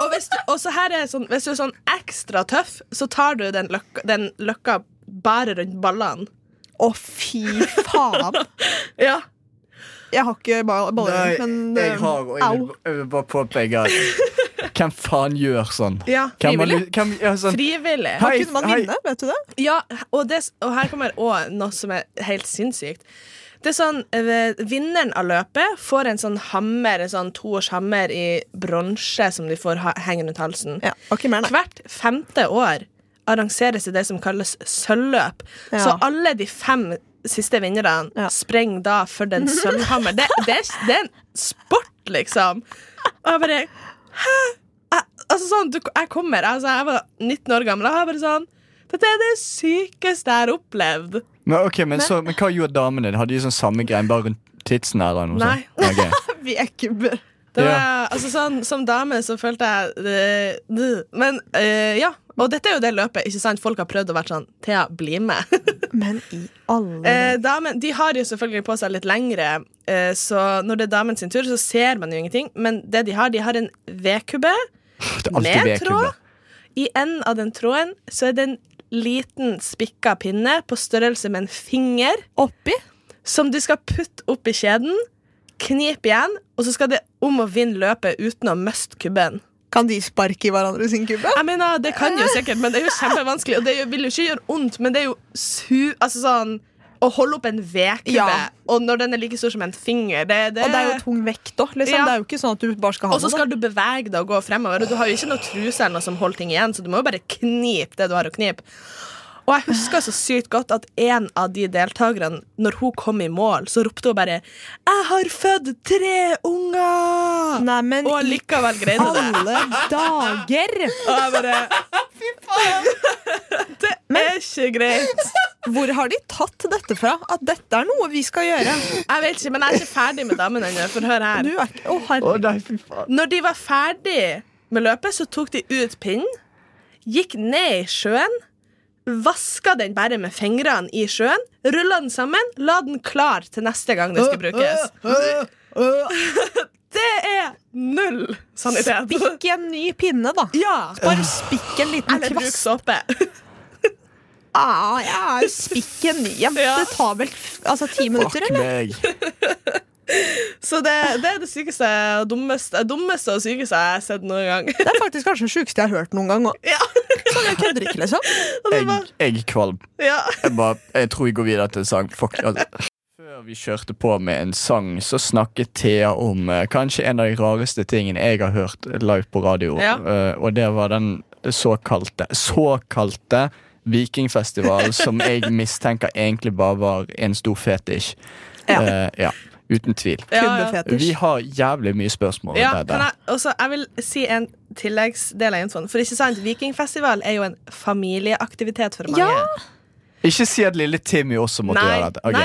Speaker 6: Og hvis du, og så her er sånn, hvis du er sånn ekstra tøff, så tar du den løkka, den løkka bare rundt ballene.
Speaker 7: Å, fy faen!
Speaker 6: Ja.
Speaker 7: Jeg har ikke ba- baller,
Speaker 5: Nei,
Speaker 7: men
Speaker 5: jeg
Speaker 7: eh,
Speaker 5: har, og jeg vil,
Speaker 7: au.
Speaker 5: jeg vil bare påpeke at Hvem faen gjør sånn?
Speaker 6: Ja,
Speaker 5: Hvem har
Speaker 6: frivillig.
Speaker 5: lyst- hvem, ja, sånn
Speaker 6: Frivillig.
Speaker 5: Hei,
Speaker 7: Kunne man
Speaker 5: hei.
Speaker 7: vinne, vet du det?
Speaker 6: Ja, og, det, og her kommer òg noe som er helt sinnssykt. Det er sånn, eh, Vinneren av løpet får en sånn hammer, en sånn toårs hammer i bronse som de får ha, henge rundt halsen.
Speaker 7: Ja, var ikke mer, nei.
Speaker 6: Hvert femte år arrangeres det det som kalles sølvløp.
Speaker 7: Ja.
Speaker 6: Så alle de fem siste vinnerne
Speaker 7: Ja.
Speaker 6: sprenger da for den sølvhammer. Det, det, er- det er en sport, liksom. Og jeg bare Hæ? Jeg, altså sånn, du, jeg kommer altså, Jeg var 19 år gammel, og jeg bare sånn Dette er det sykeste jeg har opplevd.
Speaker 5: Men, ok, men, så, men hva gjorde damene? Hadde de sånn samme greien bare rundt titsen? Eller noe
Speaker 6: Nei.
Speaker 5: Sånt? Ok.
Speaker 7: Vi er ikke bø-
Speaker 6: Det var,
Speaker 5: Ja.
Speaker 6: altså sånn, Som dame så følte jeg øh, øh, Men øh, ja. Og dette er jo det løpet. ikke sant? Folk har prøvd å være sånn Thea, bli med.
Speaker 7: Men i alle
Speaker 6: Eh, damen, de har jo selvfølgelig på seg litt lengre, eh, så når det er damen sin tur, så ser man jo ingenting. Men det de har, de har en vedkubbe
Speaker 5: Det er alltid
Speaker 6: med
Speaker 5: vedkubber.
Speaker 6: tråd. I enden av den tråden så er det en liten spikka pinne på størrelse med en finger
Speaker 7: Oppi?
Speaker 6: som du skal putte oppi kjeden, knipe igjen, og så skal det om å vinne løpet uten å miste kubben.
Speaker 7: Kan de sparke i hverandre sin kubbe?
Speaker 6: Jeg mener, Det kan jo sikkert, men det er jo kjempevanskelig. Og det er jo- vil jo ikke gjøre vondt, men det er jo su... Altså sånn Å holde opp en vedkubbe,
Speaker 7: Ja.
Speaker 6: og når den er like stor som en finger det, det,
Speaker 7: Og det er jo tung vekt òg. Liksom.
Speaker 6: Eh, Ja.
Speaker 7: Det er jo ikke sånn at du bare skal ha
Speaker 6: Og så skal du bevege deg og gå fremover, og du har jo ikke noe truse eller noe som holder ting igjen, så du må jo bare knipe det du har å knipe. Og jeg husker så sykt godt at en av de deltakerne, når hun kom i mål, så ropte hun bare 'Jeg har født tre unger!'
Speaker 7: Nei, men
Speaker 6: og
Speaker 7: i
Speaker 6: likevel greide hun det.
Speaker 7: alle dager!
Speaker 6: Og jeg bare Fy faen! Det er ikke greit.
Speaker 7: Hvor har de tatt dette fra? At dette er noe vi skal gjøre?
Speaker 6: Jeg vet ikke, men jeg er ikke ferdig med damene ennå. For hør her.
Speaker 7: Du er ikke Å, herre.
Speaker 5: Å nei, fy faen.
Speaker 6: Når de var ferdig med løpet, så tok de ut pinnen, gikk ned i sjøen, vaska den bare med fingrene i sjøen, rulla den sammen, la den klar til neste gang det skal brukes. Det er null sanitet.
Speaker 7: Spikk i en ny pinne, da.
Speaker 6: Ja.
Speaker 7: Bare spikk en liten
Speaker 6: Eller bruk sånn?
Speaker 7: kvast.
Speaker 6: såpe.
Speaker 7: Ah, ja, spikk en ny en.
Speaker 6: Ja.
Speaker 7: Det tar vel f- altså, ti minutter,
Speaker 5: Fuck
Speaker 7: eller?
Speaker 5: meg.
Speaker 6: Så det, det er det sykeste og dummeste, dummeste og sykeste jeg har sett noen gang.
Speaker 7: Det er faktisk kanskje det sjukeste jeg har hørt noen gang. Og
Speaker 6: Ja.
Speaker 7: sånn, jeg kødder ikke, liksom.
Speaker 5: Jeg, jeg er kvalm.
Speaker 6: ja.
Speaker 5: Jeg, bare, jeg tror jeg går videre til en sang. Fuck. Altså. Før vi kjørte på med en sang, så snakket Thea om eh, kanskje en av de rareste tingene jeg har hørt live på radio.
Speaker 6: Ja.
Speaker 5: Eh, og det var den såkalte, såkalte vikingfestivalen som jeg mistenker egentlig bare var en stor fetisj.
Speaker 7: Ja.
Speaker 5: Eh, ja. Uten tvil. Vi
Speaker 7: Kubbefetisj.
Speaker 5: har jævlig mye spørsmål om
Speaker 6: Ja,
Speaker 5: dette.
Speaker 6: kan jeg, også, jeg vil si en tilleggsdel av infoen. For ikke sant, Vikingfestival er jo en familieaktivitet for mange.
Speaker 7: Ja.
Speaker 5: Ikke si at lille Timmy også måtte
Speaker 6: nei,
Speaker 5: gjøre dette. Ok.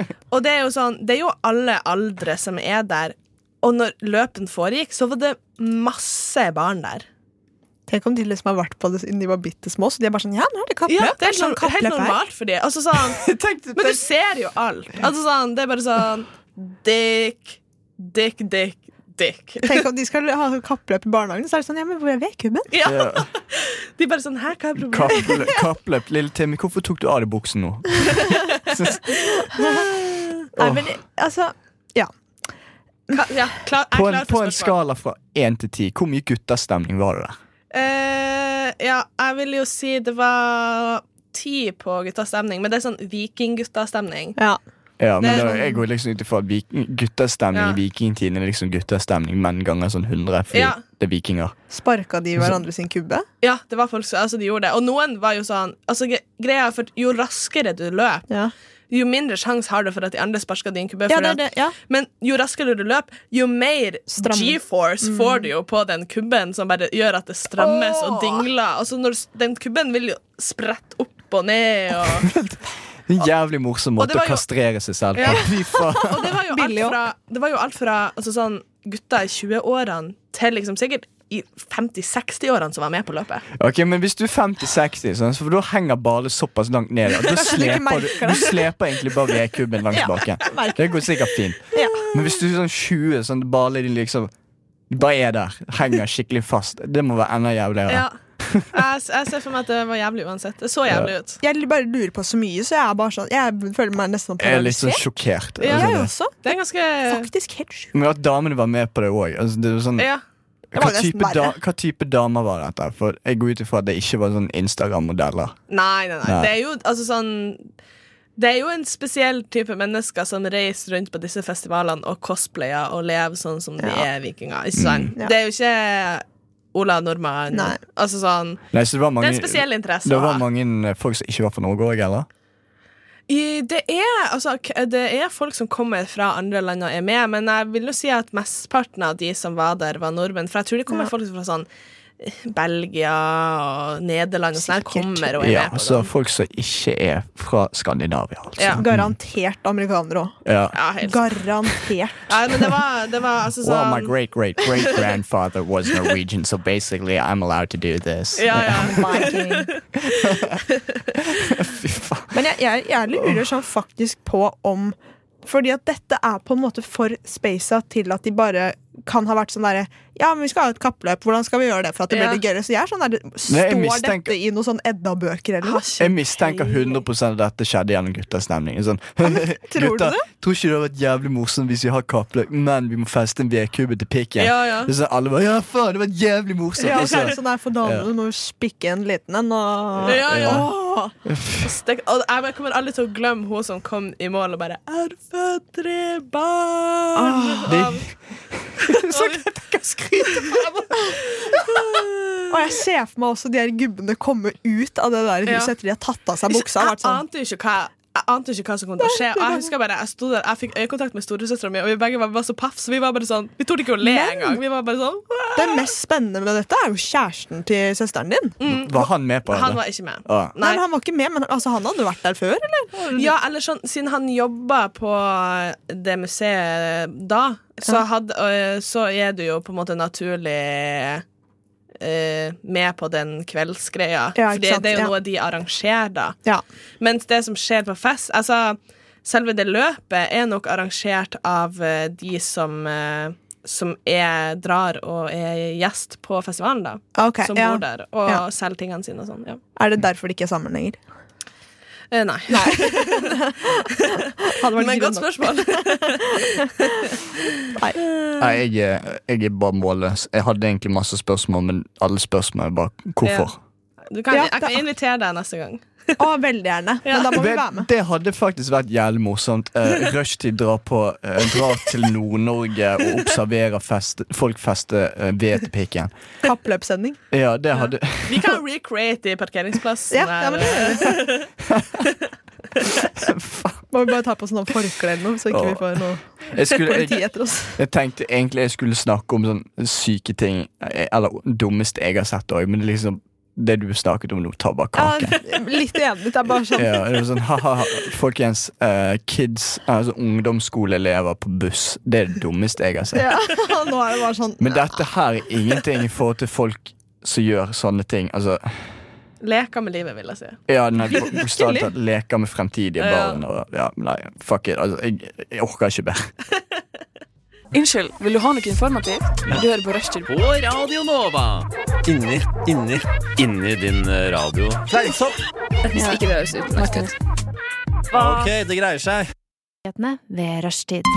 Speaker 6: nei, nei. Og det er jo sånn, det er jo alle aldre som er der. Og når løpen foregikk, så var det masse barn der.
Speaker 7: Tenk om de liksom har vært på det siden de var bitte små, så de er bare sånn Ja, nå er det kappløp.
Speaker 6: Ja, det er
Speaker 7: sånn
Speaker 6: helt, helt
Speaker 7: kappløp her.
Speaker 6: normalt for dem. Altså, sånn, men du ser jo alt. Altså, sånn, det er bare sånn Dick, dick, dick, dick.
Speaker 7: Tenk om de skal ha kappløp i barnehagen, så er det sånn Ja, men hvor er vedkubben?
Speaker 6: Ja,
Speaker 5: Ja.
Speaker 6: de bare sånn Hæ, hva er problemet?
Speaker 5: Kappløp, kappløp. Lille Timmy, hvorfor tok du av deg buksen nå?
Speaker 7: Nei, men altså Ja.
Speaker 6: Ka- Ja, klar, jeg
Speaker 5: På
Speaker 6: er
Speaker 5: en,
Speaker 6: klar
Speaker 5: på
Speaker 6: for
Speaker 5: en
Speaker 6: spørsmål.
Speaker 5: skala fra 1 til 10, hvor mye guttastemning var det der?
Speaker 6: Eh, ja, jeg vil jo si det var ti på guttastemning, men det er sånn vikingguttastemning.
Speaker 7: ja.
Speaker 5: Ja, men
Speaker 6: Det er
Speaker 5: da,
Speaker 6: sånn-
Speaker 5: jeg går liksom ut ifra at viking, guttastemning
Speaker 6: Ja.
Speaker 5: i vikingtiden er liksom guttastemning, men ganger sånn 100, fordi
Speaker 6: Ja.
Speaker 5: det er vikinger.
Speaker 7: Sparka de hverandre sin kubbe?
Speaker 6: Ja, det var folk som altså, de gjorde det. Og noen var jo sånn altså, gre- greia er for Jo raskere du løp,
Speaker 7: Ja.
Speaker 6: jo mindre sjanse har du for at de andre sparker din kubbe.
Speaker 7: Ja,
Speaker 6: for
Speaker 7: det
Speaker 6: at-
Speaker 7: er det. Ja.
Speaker 6: Men jo raskere du løp, jo mer
Speaker 7: Strammer.
Speaker 6: G-force
Speaker 7: Mm.
Speaker 6: får du jo på den kubben, som bare gjør at det strammes og dingler. Altså, når, s- den kubben vil jo sprette opp og ned. Og,
Speaker 5: En jævlig morsom
Speaker 6: Og det
Speaker 5: måte
Speaker 6: var
Speaker 5: å
Speaker 6: jo-
Speaker 5: kastrere seg selv
Speaker 6: Ja.
Speaker 5: på. Fy faen.
Speaker 6: og det var jo alt
Speaker 7: Billig opp.
Speaker 6: fra, det var jo alt fra altså, sånn, gutter i 20-årene til liksom, sikkert i 50-60-årene som var med på løpet.
Speaker 5: Ok, men hvis du er 50-60, sånn, så for da henger ballet såpass langt ned at da
Speaker 7: du ikke
Speaker 5: sleper du,
Speaker 7: merker
Speaker 5: du sleper egentlig bare vedkubben langs baken. Det går sikkert fint.
Speaker 7: Ja.
Speaker 5: Men hvis du er sånn 20, sånn at ballet din liksom bare er der, henger skikkelig fast, det må være enda jævligere.
Speaker 6: Ja. Jeg, s- jeg ser for meg at det var jævlig uansett. Det så jævlig ut.
Speaker 7: Jeg bare lurer på så mye, så jeg, er bare sånn, jeg føler meg nesten
Speaker 5: Jeg er litt sånn
Speaker 7: paralysert.
Speaker 5: sjokkert.
Speaker 6: Ja,
Speaker 5: altså,
Speaker 7: Jeg
Speaker 5: det.
Speaker 7: også.
Speaker 6: Det er ganske
Speaker 7: Faktisk helt sjukt.
Speaker 5: Men at damene var med på det òg. Altså, det er jo sånn,
Speaker 6: Ja.
Speaker 7: Det var
Speaker 5: hva,
Speaker 7: nesten
Speaker 5: type da,
Speaker 7: verre.
Speaker 5: hva type damer var dette? For Jeg går ut ifra at det ikke var sånn Instagram-modeller.
Speaker 6: Nei, nei, nei.
Speaker 5: Nei.
Speaker 6: Det er jo altså sånn Det er jo en spesiell type mennesker som reiser rundt på disse festivalene og cosplayer og lever sånn som de
Speaker 7: Ja. Mm.
Speaker 6: er vikinger. Ikke sant?
Speaker 7: Ja.
Speaker 6: Det er jo ikke Ola Nordmann.
Speaker 7: Nei.
Speaker 6: Altså sånn
Speaker 5: Nei, så det var
Speaker 6: Det
Speaker 5: mange,
Speaker 6: er en spesiell interesse.
Speaker 5: det
Speaker 6: å
Speaker 5: var
Speaker 6: ha.
Speaker 5: mange eh, folk som ikke var fra Norge òg, eller?
Speaker 6: I- Det er, altså, k- det er folk som kommer fra andre land og er med, men jeg vil jo si at mesteparten av de som var der, var nordmenn. For jeg tror det kommer
Speaker 7: Ja.
Speaker 6: folk fra sånn eh, Belgia og Nederland og sånn. her
Speaker 7: Sikkert.
Speaker 6: Kommer og er
Speaker 5: Ja, altså.
Speaker 6: med på
Speaker 5: så
Speaker 6: det.
Speaker 5: folk som ikke er fra Skandinavia, altså.
Speaker 6: Ja.
Speaker 7: Garantert amerikanere òg.
Speaker 5: Ja.
Speaker 6: Ja, helt sant.
Speaker 7: Garantert.
Speaker 6: Nei, men det var, det var altså
Speaker 5: Well,
Speaker 6: sånn
Speaker 5: my great great great grandfather was Norwegian, so basically I'm allowed to do this.
Speaker 6: Ja, ja.
Speaker 5: Fy faen.
Speaker 7: Men jeg, jeg, jeg lurer sånn faktisk på om Fordi at dette er på en måte for spasa til at de bare kan ha vært sånn derre Ja, men vi skal ha et kappløp, hvordan skal vi gjøre det for at det
Speaker 6: Ja.
Speaker 7: blir litt gøyere? Så jeg er sånn der,
Speaker 5: jeg
Speaker 7: Står
Speaker 5: mistenker-
Speaker 7: dette i noen sånn Edda-bøker eller noe?
Speaker 5: Jeg mistenker 100 at dette skjedde gjennom guttastemning. Sånn,
Speaker 7: tror du
Speaker 5: gutta,
Speaker 7: det?
Speaker 5: tror ikke det hadde vært jævlig morsomt hvis vi har kappløp, men vi må feste en vedkubbe til pikken?
Speaker 6: Ja, ja.
Speaker 5: Det er Sånn, alle bare, ja, faen, det hadde vært jævlig morsomt.
Speaker 7: Ja, og så
Speaker 5: Altså,
Speaker 7: er det sånn der for damene,
Speaker 5: Ja.
Speaker 7: du må jo spikke en liten en og
Speaker 6: Ja, ja.
Speaker 7: Åh.
Speaker 6: Stek- og jeg bare kommer aldri til å glemme hun som kom i mål og bare 'Er født tre barn'.
Speaker 5: Ah, så kan jeg ikke skryte på
Speaker 7: Og jeg ser for meg også de her gubbene komme ut av det der
Speaker 6: Ja.
Speaker 7: huset etter de har tatt av seg
Speaker 6: Ikke-
Speaker 7: buksa. Og
Speaker 6: jeg
Speaker 7: vært sånn,
Speaker 6: ante jo ikke hva jeg ante jo ikke hva som kom til å skje. Og Jeg husker bare, jeg sto der, jeg fikk øyekontakt med storesøstera mi, og vi begge var, var så paff, så vi var bare sånn Vi torde ikke å le
Speaker 7: Men-
Speaker 6: engang. Vi var bare sånn «Åh!»
Speaker 7: det mest spennende med dette er jo kjæresten til søsteren din.
Speaker 5: Var han med på det?
Speaker 6: Han var ikke med.
Speaker 5: Ah.
Speaker 7: Nei.
Speaker 6: Mm, Nei.
Speaker 7: men han var ikke med, men altså, han hadde jo vært der før, eller?
Speaker 6: Ja, eller sånn, Siden han jobba på eh, det museet da, så, hadde, øh, så er du jo på en måte naturlig øh, med på den kveldsgreia.
Speaker 7: Ja,
Speaker 6: For
Speaker 7: ikke
Speaker 6: det,
Speaker 7: sant,
Speaker 6: det er jo
Speaker 7: ja.
Speaker 6: noe de arrangerer, da.
Speaker 7: Ja.
Speaker 6: Mens det som skjer på fest Altså, selve det løpet er nok arrangert av eh, de som eh, som er, drar og er gjest på festivalen, da.
Speaker 7: Ok,
Speaker 6: som
Speaker 7: ja.
Speaker 6: bor der og
Speaker 7: Ja.
Speaker 6: selger tingene sine og sånn. Ja.
Speaker 7: Er det derfor det ikke er sammenhenger?
Speaker 6: Eh, nei.
Speaker 7: Hadde
Speaker 6: Men godt spørsmål.
Speaker 5: Nei, jeg, er- jeg er bare målløs. Jeg hadde egentlig masse spørsmål, men alle spørsmål er bare hvorfor.
Speaker 6: Du kan,
Speaker 7: Ja,
Speaker 6: jeg kan
Speaker 7: det-
Speaker 6: invitere deg neste gang.
Speaker 7: Å, veldig gjerne. Men da må vi
Speaker 5: Det,
Speaker 7: være med.
Speaker 5: det hadde faktisk vært jævlig morsomt. Uh, Rushtid drar på eh, Drar til Nord-Norge og observerer fest, folk feste uh, ved til pikken.
Speaker 7: Kappløpssending.
Speaker 5: Ja, det hadde
Speaker 6: Vi kan recreate eh, de parkeringsplassene.
Speaker 7: Ja, ja, men det
Speaker 6: her.
Speaker 7: gjør vi. Må vi bare ta på sånn forkle eller noe, så ikke vi får noe
Speaker 5: jeg, skulle,
Speaker 7: politi
Speaker 5: jeg,
Speaker 7: etter oss.
Speaker 5: jeg tenkte egentlig jeg skulle snakke om sånn syke ting, eh, eller dummeste jeg har sett òg, men det er liksom det du snakket om nå,
Speaker 7: Ja,
Speaker 5: tabakkake.
Speaker 7: litt enig. Det er bare sånn
Speaker 5: Ja, det var sånn, haha, folkens, eh, kids, altså ungdomsskoleelever på buss, det er det dummeste jeg har sett.
Speaker 7: ja, Nå er det bare sånn
Speaker 5: Men dette her er ingenting i forhold til folk som gjør sånne ting. Altså,
Speaker 6: Leker med livet, vil jeg si.
Speaker 5: ja, nei, bo- bokstavelig talt leker med fremtidige barn og ja, nei, fuck it. Altså, jeg, jeg orker ikke mer.
Speaker 1: Unnskyld, vil du ha noe informativt? Du hører på Rushtid.
Speaker 2: på Radio Nova. Inni, inni, inni din eh, radio. Fleinsopp!
Speaker 1: Hvis ikke det høres ut.
Speaker 2: Ok, det greier seg.
Speaker 8: Nyhetene ved rushtid.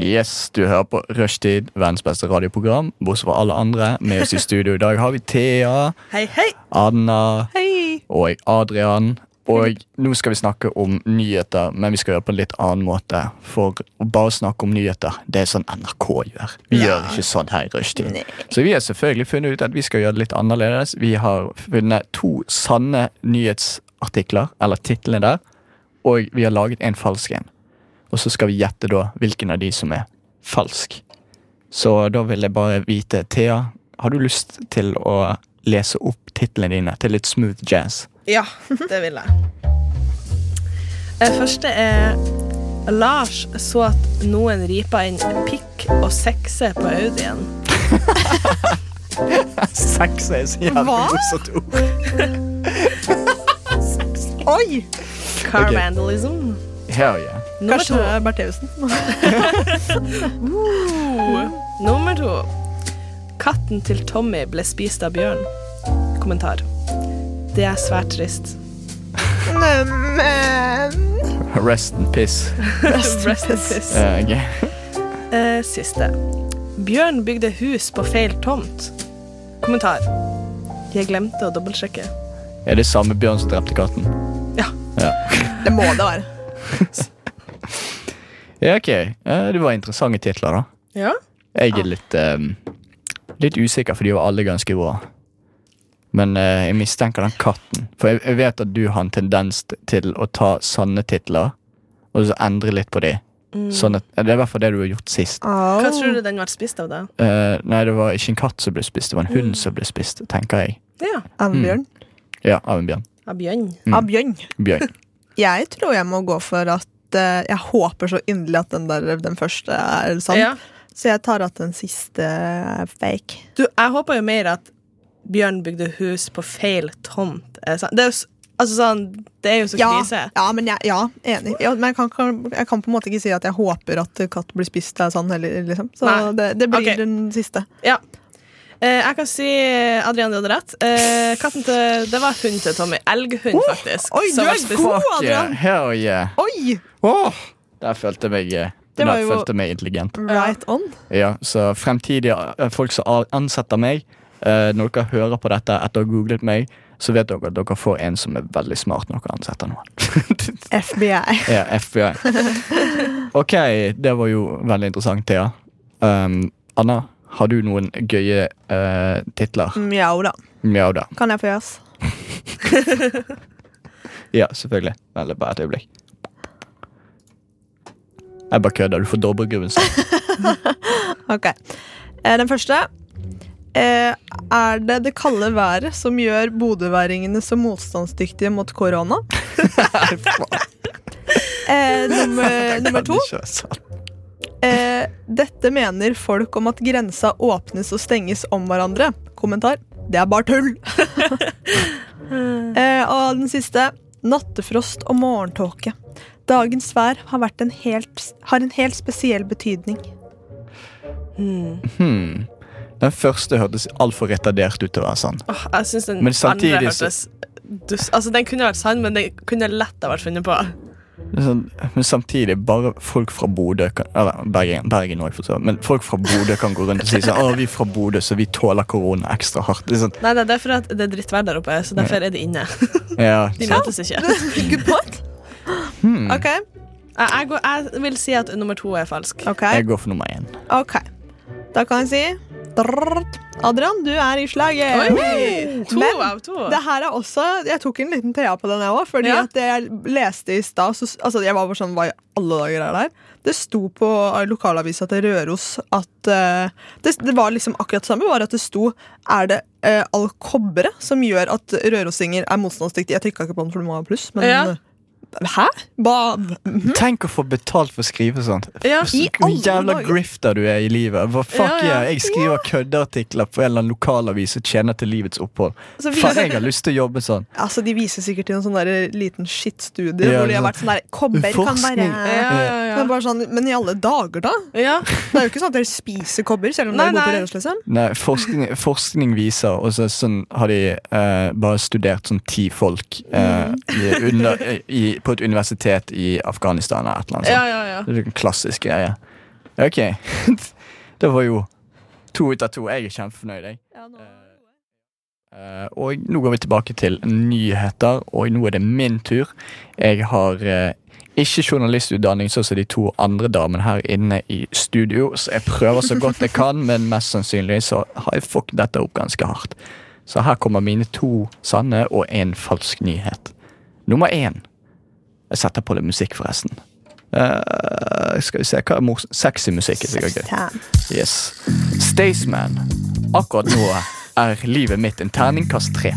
Speaker 5: Yes, du hører på Rushtid, verdens beste radioprogram, bortsett fra alle andre. Med oss i studio i dag har vi Thea,
Speaker 6: Hei, hei!
Speaker 5: Anna
Speaker 7: Hei!
Speaker 5: og Adrian. Og nå skal vi snakke om nyheter, men vi skal gjøre det på en litt annen måte. For å bare snakke om nyheter, det er sånn NRK gjør. Vi gjør ikke sånn her i rushtid. Så vi har selvfølgelig funnet ut at vi skal gjøre det litt annerledes. Vi har funnet to sanne nyhetsartikler, eller titlene der, og vi har laget en falsk en. Og så skal vi gjette da hvilken av de som er falsk. Så da vil jeg bare vite, Thea, har du lyst til å lese opp titlene dine til litt smooth jazz?
Speaker 6: Ja, det vil jeg. Eh, Første er Lars så at noen ripa inn pikk og sekse på Audien.
Speaker 5: Sex er så jævlig
Speaker 7: Hva?
Speaker 5: morsomt ord.
Speaker 7: Oi!
Speaker 6: Car
Speaker 5: Ok.
Speaker 6: vandalism.
Speaker 5: Hell yeah.
Speaker 6: Nummer
Speaker 7: Kanskje
Speaker 6: to.
Speaker 7: Bertheussen.
Speaker 6: Nummer to. Katten til Tommy ble spist av bjørn. Kommentar. Det er svært trist.
Speaker 5: Rest in piss.
Speaker 6: Rest in peace.
Speaker 5: Eh, ok.
Speaker 6: Eh, siste. Bjørn bygde hus på feil tomt. Kommentar. Jeg glemte å dobbeltsjekke.
Speaker 5: Er det samme bjørn som drepte katten?
Speaker 6: Ja.
Speaker 5: Ja,
Speaker 7: Det må det være.
Speaker 5: ja ok. Eh, det var interessante titler, da.
Speaker 6: Ja?
Speaker 5: Jeg er litt, eh, litt usikker, for de var alle ganske bra. Men eh, jeg mistenker den katten. For jeg, jeg vet at du har en tendens til å ta sanne titler og så endre litt på de. Sånn at, det er i hvert fall det du har gjort sist.
Speaker 6: Hva tror du den ble spist av, da?
Speaker 5: Eh, nei, det var ikke en katt som ble spist, det var en hund som ble spist, tenker jeg.
Speaker 6: Ja,
Speaker 5: Mm.
Speaker 7: Ambjørn?
Speaker 5: Ja, av en bjørn.
Speaker 6: av bjørn.
Speaker 5: Mm.
Speaker 7: Ambjørn.
Speaker 5: Bjørn.
Speaker 7: Jeg tror jeg må gå for at eh, Jeg håper så inderlig at den, der, den første er sann.
Speaker 6: Ja.
Speaker 7: Så jeg tar at den siste er fake.
Speaker 6: Du, jeg håper jo mer at Bjørn bygde hus på feil tomt. Er det sant? Det er jo, s- altså, sånn, det er jo så
Speaker 7: Ja,
Speaker 6: krise.
Speaker 7: ja, men jeg, ja enig. Ja, men jeg kan, kan, jeg kan på en måte ikke si at jeg håper at katt blir spist er sann heller. Liksom. Så
Speaker 6: Nei.
Speaker 7: det, det blir
Speaker 6: Ok.
Speaker 7: den siste.
Speaker 6: Ja. Eh, jeg kan si Adrian, du hadde rett. Eh, katten til Det var hunden til Tommy. Elghund, faktisk.
Speaker 7: oi,
Speaker 6: som
Speaker 7: du
Speaker 6: var
Speaker 7: er
Speaker 6: spesiell.
Speaker 7: god.
Speaker 5: Fuck yeah,
Speaker 7: Adrian.
Speaker 5: hell yeah.
Speaker 7: Oi!
Speaker 5: Åh, Der følte jeg meg, eh, der
Speaker 7: Det var jo-
Speaker 5: følte jeg meg intelligent.
Speaker 7: Right on.
Speaker 5: Ja, så fremtidige eh, folk som a- ansetter meg, eh, når dere hører på dette etter å ha googlet meg, så vet dere at dere får en som er veldig smart når dere ansetter noen.
Speaker 7: FBI.
Speaker 5: ja, FBI. Ok, det var jo veldig interessant, Thea. Um, Anna, har du noen gøye eh, titler?
Speaker 7: Mjau, da.
Speaker 5: Mjau da.
Speaker 7: Kan jeg få jazz?
Speaker 5: Ja, selvfølgelig. Eller bare et øyeblikk. Jeg bare kødder. Du får dobbergruven sin.
Speaker 7: Ok. Eh, Den første. Eh, er det det kalde været som gjør bodøværingene så motstandsdyktige mot korona? eh, nummer, nummer to. Eh, dette mener folk om at grensa åpnes og stenges om hverandre. Kommentar. Det er bare tull. eh, og den siste. Nattefrost og morgentåke. Dagens vær har, vært en helt, har en helt spesiell betydning.
Speaker 5: Hmm. Den første hørtes altfor retardert ut til å være sann.
Speaker 6: Åh, jeg syns den
Speaker 5: Men samtidig
Speaker 6: andre
Speaker 5: så-
Speaker 6: hørtes dus. Altså, den kunne vært sann, men den kunne lett ha vært funnet på.
Speaker 5: Det er Sånn, men samtidig, bare folk fra Bodø kan, Eller Bergen, Bergen også, for så vidt. Men folk fra Bodø kan gå rundt og si sånn Å, vi er fra Bodø, så vi tåler korona ekstra hardt. Det er sånn,
Speaker 6: Nei, nei, det er fordi at det er drittvær der oppe, så derfor er de inne.
Speaker 5: ja,
Speaker 6: De
Speaker 5: så,
Speaker 6: møtes ikke.
Speaker 7: Good point. Ok.
Speaker 6: Jeg, jeg, går, jeg vil si at nummer to er falsk.
Speaker 7: Ok,
Speaker 5: jeg går for nummer én.
Speaker 7: ok. Da kan jeg si drrrt. Adrian, du er i slaget.
Speaker 6: Oi! To
Speaker 7: Men
Speaker 6: av to.
Speaker 7: det her er også Jeg tok en liten Thea på den, jeg òg. Fordi
Speaker 6: Ja.
Speaker 7: at det jeg leste i stad så- altså, Jeg var bare sånn Hva i alle dager er det her? Det sto på lokalavisa til Røros at eh, det, det var liksom akkurat det samme, bare at det sto Er det eh, all kobberet som gjør at rørosinger er motstandsdyktige? Jeg trykka ikke på den, for du må ha pluss, men eh,
Speaker 6: Ja.
Speaker 7: Hæ? Hva?
Speaker 5: Tenk å få betalt for å skrive sånt.
Speaker 6: Ja.
Speaker 5: Så
Speaker 7: alle
Speaker 5: jævla
Speaker 7: dager.
Speaker 5: grifter du er i livet. Hva fuck
Speaker 6: Ja, ja.
Speaker 5: yeah, Jeg skriver køddeartikler på en eller annen lokalavis og tjener til livets opphold.
Speaker 7: Så vi-
Speaker 5: Faen, jeg har lyst til å jobbe sånn.
Speaker 7: Altså, De viser sikkert til en sånn der liten skittstudie
Speaker 5: Ja,
Speaker 7: hvor de har
Speaker 5: sånn.
Speaker 7: vært sånn der Kobber kan være
Speaker 5: Forskning.
Speaker 6: Ja, ja,
Speaker 7: Men, bare sånn, men i alle dager, da?
Speaker 6: ja. ja.
Speaker 7: Det er jo ikke sånn at dere spiser kobber, selv om
Speaker 6: Nei,
Speaker 7: dere bor på
Speaker 6: nei.
Speaker 7: Røros, liksom.
Speaker 5: Nei, forskning, forskning viser, og så sånn har de eh, bare studert sånn ti folk eh, i,
Speaker 6: Mm.
Speaker 5: under, i, på et universitet i Afghanistan eller et eller annet sånt.
Speaker 6: ja, ja, ja.
Speaker 5: Det er en klassisk greie. OK. det var jo to ut av to. Jeg er kjempefornøyd, jeg. Eh, Og nå går vi tilbake til nyheter, og nå er det min tur. Jeg har eh, ikke journalistutdanning, sånn som de to andre damene her inne i studio, så jeg prøver så godt jeg kan, men mest sannsynlig så har jeg fucket dette opp ganske hardt. Så her kommer mine to sanne og én falsk nyhet. Nummer én. Jeg setter på litt musikk, forresten. Eh, skal vi se hva er mors- Sexy musikk er sikkert gøy. Yes. Staysman. Akkurat nå er livet mitt en terningkast tre.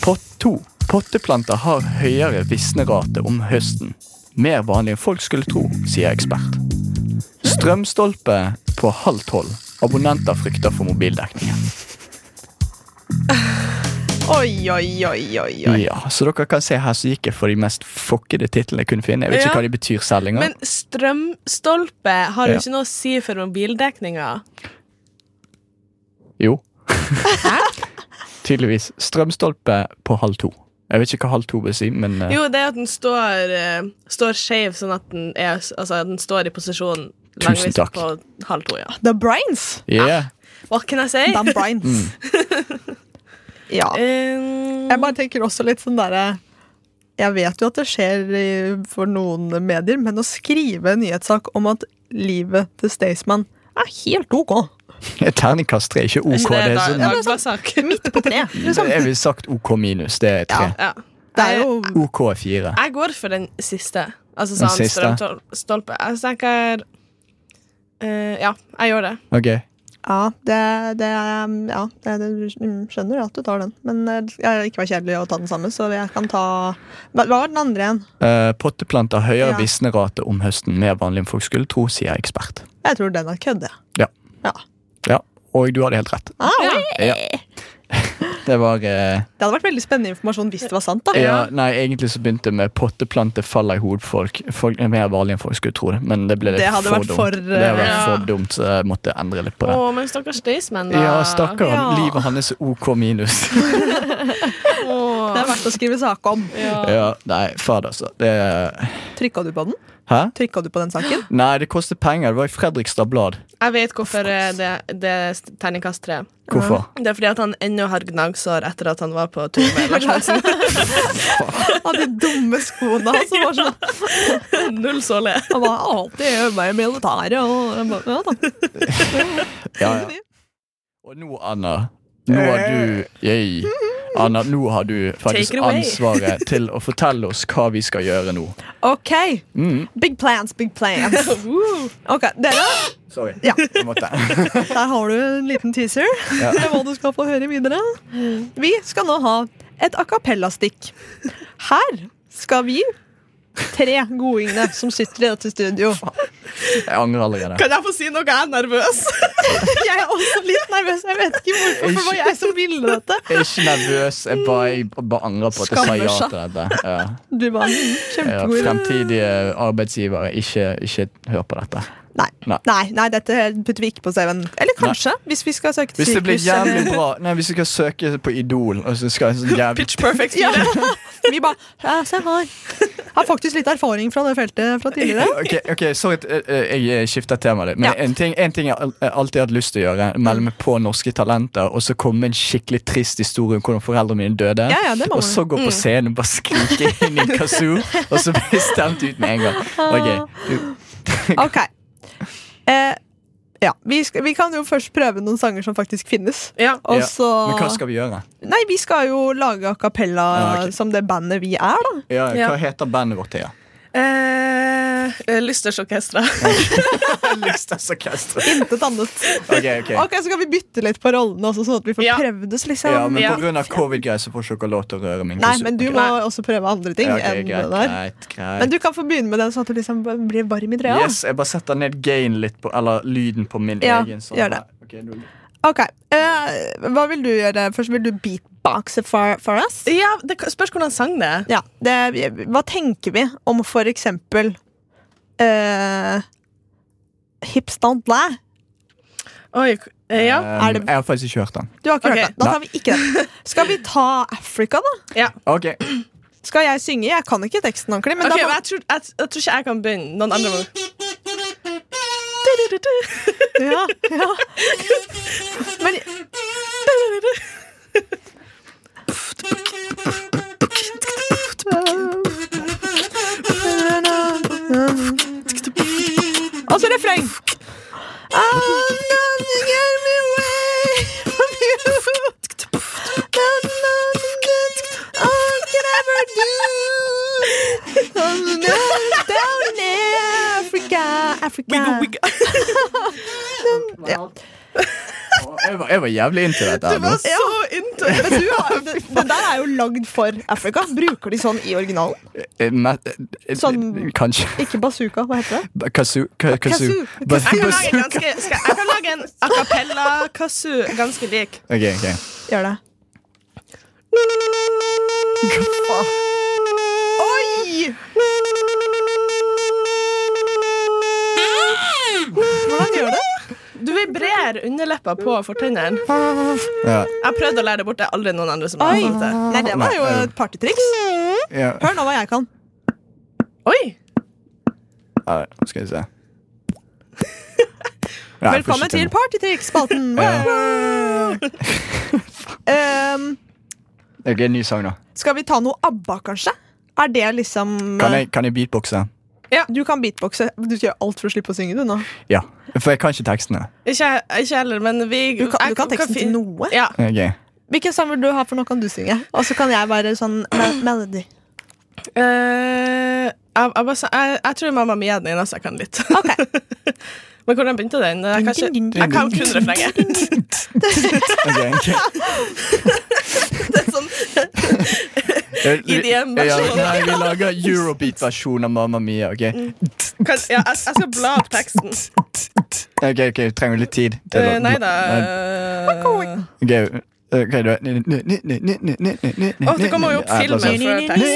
Speaker 5: Pott to. Potteplanter har høyere visnerate om høsten. Mer vanlig enn folk skulle tro, sier ekspert. Strømstolpe på halv tolv. Abonnenter frykter for mobildekningen.
Speaker 7: Oi, oi, oi, oi, oi.
Speaker 5: Ja, så dere kan se her så gikk jeg for de mest fuckede titlene jeg kunne finne. Jeg vet ikke
Speaker 6: Ja.
Speaker 5: hva de betyr selv engang.
Speaker 6: Men strømstolpe har jo
Speaker 5: Ja.
Speaker 6: ikke noe å si for mobildekninga.
Speaker 5: Jo. Tydeligvis. Strømstolpe på halv to. Jeg vet ikke hva halv to vil si, men eh,
Speaker 6: Jo, det er at den står, eh, står skeiv, sånn at den, er, altså, at den står i posisjon
Speaker 5: Tusen
Speaker 6: langvis
Speaker 5: takk.
Speaker 6: på halv to. Ja.
Speaker 7: The Brines.
Speaker 5: yeah.
Speaker 6: What can I say?
Speaker 7: The Brines. ja.
Speaker 6: Um,
Speaker 7: Jeg bare tenker også litt sånn derre Jeg vet jo at det skjer i- for noen medier, men å skrive en nyhetssak om at livet til Staysman er helt OK.
Speaker 5: Terningkast tre, ikke OK. Det er sånn,
Speaker 7: det er sånn-
Speaker 6: dagsak.
Speaker 7: Midt på tre. Liksom.
Speaker 5: jeg ville sagt OK minus. Det er tre.
Speaker 6: Ja.
Speaker 7: Det er jo
Speaker 5: OK er fire.
Speaker 6: Jeg går for den siste. Altså
Speaker 5: Den
Speaker 6: sånn
Speaker 5: siste?
Speaker 6: strømstolpe. Jeg tenker eh, Ja, jeg gjør det.
Speaker 5: Ok.
Speaker 7: Ja, det, det er Ja, det, det, mm, skjønner at du tar den. Men eh, jeg vil ikke være kjedelig å ta den samme, så jeg kan ta Hva hva var den andre igjen?
Speaker 5: Eh, potteplanter høyere
Speaker 7: Ja.
Speaker 5: visnerate om høsten. Mer vanlig enn folk skulle tro, sier ekspert.
Speaker 7: Jeg tror den er kødd, jeg.
Speaker 5: Ja, og du hadde helt rett.
Speaker 7: Ah, oi.
Speaker 5: Ja. Det var eh,
Speaker 7: Det hadde vært veldig spennende informasjon hvis det var sant, da.
Speaker 5: ja, Nei, egentlig så begynte det med potteplanter faller i hodet på folk. Folk er mer vanlig enn folk skulle tro det, men det ble litt
Speaker 7: Det hadde
Speaker 5: for
Speaker 7: vært
Speaker 5: dumt.
Speaker 7: for,
Speaker 5: det hadde vært
Speaker 6: eh,
Speaker 5: for dumt, så jeg måtte endre litt på det.
Speaker 6: Å, men stakkars Staysman, da.
Speaker 5: Ja, stakkar.
Speaker 7: Ja.
Speaker 5: Livet hans er OK minus.
Speaker 7: Det er verdt å skrive sak om.
Speaker 5: ja, nei, fader, altså. Det
Speaker 7: Trykka du på den?
Speaker 5: Hæ?
Speaker 7: Trykka du på den saken?
Speaker 5: Nei, det koster penger. Det var i Fredrikstad Blad.
Speaker 6: Jeg vet hvorfor eh, det, det er st- terningkast tre.
Speaker 5: Hvorfor?
Speaker 6: Det er fordi at han ennå har gnagsår etter at han var på tur med Lars Monsen.
Speaker 7: Av de dumme skoene som var sånn
Speaker 6: Null såle.
Speaker 7: Han var alltid med i militæret og jeg bare, Ja da.
Speaker 5: Ja, ja. Og nå, Anna, nå har du Yay. Anna, nå har du faktisk
Speaker 6: Eh. Take it away.
Speaker 5: ansvaret til å fortelle oss hva vi skal gjøre nå.
Speaker 7: OK.
Speaker 5: Mm.
Speaker 7: Big plans, big plans. OK, dere.
Speaker 5: Sorry.
Speaker 7: Ja.
Speaker 5: Jeg måtte.
Speaker 7: Der har du en liten teaser til hva du skal få høre videre. Vi skal nå ha et a cappella-stikk. Her skal vi tre godingene som sitter i dette studio.
Speaker 5: Jeg angrer allerede.
Speaker 6: Kan jeg få si noe? Jeg er nervøs.
Speaker 7: Jeg er også litt nervøs. Jeg vet ikke hvorfor, for det var jeg som ville dette.
Speaker 5: Jeg er ikke nervøs. Jeg bare, jeg bare angrer på at jeg sa ja til dette. Ja.
Speaker 7: Du bare, mm,
Speaker 5: Ja,
Speaker 7: kjempegod idé.
Speaker 5: fremtidige arbeidsgivere, ikke, ikke hør på dette.
Speaker 7: Nei,
Speaker 5: Nei.
Speaker 7: nei, nei, dette putter vi ikke på CV-en. Eller kanskje, hvis vi skal søke til
Speaker 5: Hvis det blir
Speaker 7: sirkus.
Speaker 5: jævlig bra Nei, hvis du skal søke på Idol og så skal jeg sånn jævlig
Speaker 6: Pitch perfect.
Speaker 7: Ja. Vi bare ja, Se her. Har faktisk litt erfaring fra det feltet fra tidligere.
Speaker 5: Ok, ok, sorry, at, eh, eh, jeg skifter tema litt. Men
Speaker 7: Ja. Mm.
Speaker 5: en, ting, en ting jeg al- eh, alltid har hatt lyst til å gjøre, melde meg på Norske Talenter, og så komme med en skikkelig trist historie om hvordan foreldrene mine døde.
Speaker 7: Ja, ja, det
Speaker 5: og
Speaker 7: må man. Mm.
Speaker 5: så gå på scenen og bare skrike inn i kazoo, og så bli stemt ut med en gang. Ok,
Speaker 7: Ah.
Speaker 5: du-
Speaker 7: Ok. Eh, ja, vi, skal, vi kan jo først prøve noen sanger som faktisk finnes.
Speaker 6: Ja.
Speaker 7: Og
Speaker 5: Ja,
Speaker 7: så
Speaker 5: Men hva skal vi gjøre?
Speaker 7: Nei, vi skal jo lage a cappella
Speaker 5: Ja, ok.
Speaker 7: som det bandet vi er, da.
Speaker 5: Ja, hva
Speaker 6: Ja.
Speaker 5: heter bandet vårt, Thea?
Speaker 6: Eh, Lystersorkesteret.
Speaker 5: Lystessorkesteret.
Speaker 7: Intet annet.
Speaker 5: Ok, ok.
Speaker 7: Ok, Så kan vi bytte litt på rollene, også, sånn at vi får
Speaker 6: Ja.
Speaker 7: prøvd oss, liksom.
Speaker 5: Ja, men
Speaker 6: Ja.
Speaker 5: på grunn av covid-greier så får ikke dere lov til å røre min
Speaker 7: Nei,
Speaker 5: kazoo.
Speaker 7: men du
Speaker 5: Ok.
Speaker 7: må også prøve andre ting
Speaker 5: Ja, ok, greit,
Speaker 7: enn det der.
Speaker 5: greit, greit.
Speaker 7: Men du kan få begynne med den, sånn at du liksom blir varm i trøya.
Speaker 5: Yes, jeg bare setter ned gain litt på, eller lyden på min
Speaker 7: Ja,
Speaker 5: egen. sånn
Speaker 7: gjør det.
Speaker 5: Ok, nå-
Speaker 7: Ok, eh, Hva vil du gjøre først? Vil du beatboxe for, for us?
Speaker 6: Ja, det k- spørs hvordan sang det er.
Speaker 7: Ja, det, hva tenker vi om for eksempel eh, Hips don't lie?
Speaker 6: Oi, k- eh, ja.
Speaker 5: Um,
Speaker 7: Er det-
Speaker 5: Jeg har faktisk ikke hørt den.
Speaker 7: Du har ikke
Speaker 6: Ok.
Speaker 7: hørt den. Da tar vi ikke den. Skal vi ta Africa, da?
Speaker 5: Ok,
Speaker 7: Skal jeg synge? Jeg kan ikke teksten ordentlig. Men
Speaker 6: Ok,
Speaker 7: da
Speaker 6: men
Speaker 7: må,
Speaker 6: jeg, tror, jeg, jeg tror ikke jeg kan begynne. Noen andre må
Speaker 7: Ja, ja. Men Og så refreng. I'm nothing in my way from you. There's nothing that I can ever do. I'm lost down in Africa, Africa.
Speaker 5: Jeg var, jeg var jævlig into dette. her
Speaker 7: Det var
Speaker 5: nå.
Speaker 7: så into Men du har, det, det der er jo lagd for Afrika. Bruker de sånn i originalen?
Speaker 5: Eh, men- eh,
Speaker 7: Sånn-
Speaker 5: Kanskje.
Speaker 7: Ikke bazooka, hva heter det?
Speaker 5: Kazoo. ka- Kazoo.
Speaker 7: Kazoo.
Speaker 5: Ba-
Speaker 6: Jeg kan lage en
Speaker 5: bazoo-
Speaker 6: ganske, skal, jeg kan lage en a cappella-kazoo ganske lik.
Speaker 5: Ok, ok.
Speaker 7: Gjør det. Oi! Hvordan gjør det?
Speaker 6: Du vibrerer underleppa på fortennene.
Speaker 5: Ja,
Speaker 6: Jeg prøvde å lære det bort. Det er aldri noen andre som har fått det.
Speaker 7: Nei, det var jo et partytriks.
Speaker 5: ja.
Speaker 7: Hør nå hva jeg kan.
Speaker 6: Oi!
Speaker 5: Ja, skal vi se. Nei, jeg får
Speaker 7: Velkommen
Speaker 5: ikke
Speaker 7: til
Speaker 5: noe.
Speaker 7: Partytriks-spalten. Ehm,
Speaker 5: Ok, en ny sang, da.
Speaker 7: skal vi ta noe ABBA, kanskje? Er det liksom eh,
Speaker 5: Kan jeg, kan jeg beatboxe?
Speaker 7: Du kan beatboxe. Du skal gjøre alt for å slippe å synge, du nå.
Speaker 5: Ja. For jeg kan ikke tekstene.
Speaker 6: Ikke jeg heller, men vi
Speaker 7: Du kan,
Speaker 6: jeg-
Speaker 7: du kan teksten til
Speaker 6: fin-
Speaker 7: noe.
Speaker 6: Ja.
Speaker 5: Ok.
Speaker 7: Hvilken sang vil du ha, for nå kan du synge? Og så kan jeg være sånn me- melody.
Speaker 6: Eh, jeg, jeg, bare sa- jeg, jeg tror Mamma Mia er den eneste jeg kan litt. men hvordan begynte den? Jeg kan, ikke, jeg kan kun refrenget.
Speaker 5: ok, ok.
Speaker 6: sånn-
Speaker 5: ja,
Speaker 6: IDM-versjon.
Speaker 5: Nei, vi lager eurobeat-versjon av Mamma Mia. Ok,
Speaker 6: Kan- Ja, jeg, jeg skal bla opp teksten.
Speaker 5: Ok, ok, trenger litt tid. til å-
Speaker 6: Eh, nei da. eh,
Speaker 5: Ok, ok, du vet Åh,
Speaker 6: Åh, det kommer jo opp filmen før
Speaker 5: sånn-
Speaker 6: tekst.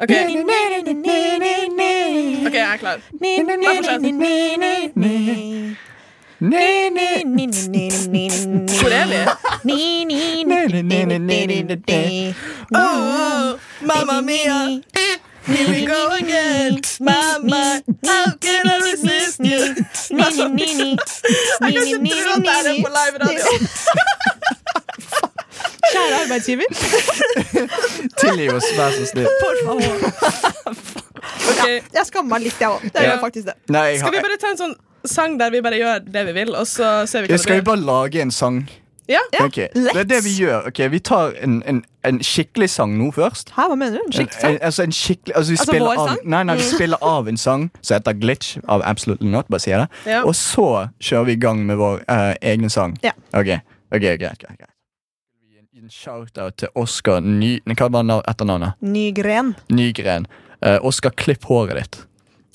Speaker 6: Ok, ok, jeg er klar. Bare fortsett. Hvor er vi? Oh, mamma mia, here we go again. Mamma, how can I resist you? Tror at det er på live radio.
Speaker 7: Kjære arbeidsgiver.
Speaker 5: Tilgi oss, vær så snill.
Speaker 6: Ok,
Speaker 7: Jeg skammer meg litt, jeg òg. Det
Speaker 6: Ja.
Speaker 7: gjør faktisk det.
Speaker 5: Nei, jeg
Speaker 6: Skal vi
Speaker 5: har
Speaker 6: bare ta en sånn sang der vi bare gjør det vi vil, og så ser vi
Speaker 5: ja,
Speaker 6: hva
Speaker 5: Skal vi
Speaker 6: det blir?
Speaker 5: bare lage en sang?
Speaker 6: Ja,
Speaker 5: Ok, Det er det vi gjør. ok, Vi tar en, en, en skikkelig sang nå først.
Speaker 7: Hæ, hva mener du? En skikkelig sang?
Speaker 5: En, altså en skikkelig altså vi
Speaker 7: Altså
Speaker 5: spiller
Speaker 7: vår
Speaker 5: av,
Speaker 7: sang?
Speaker 5: Nei, nei, vi spiller av en sang som heter Glitch av Absolutely Not. Bare sier det
Speaker 6: Ja.
Speaker 5: Og så kjører vi i gang med vår eh, egne sang.
Speaker 7: Ja.
Speaker 5: Ok, ok, greit, greit, greit. En- En shout-out til Oskar Ny... nei, Hva var nav- etternavnet?
Speaker 7: Ny gren.
Speaker 5: Nygren. Uh, Oskar, klipp håret ditt.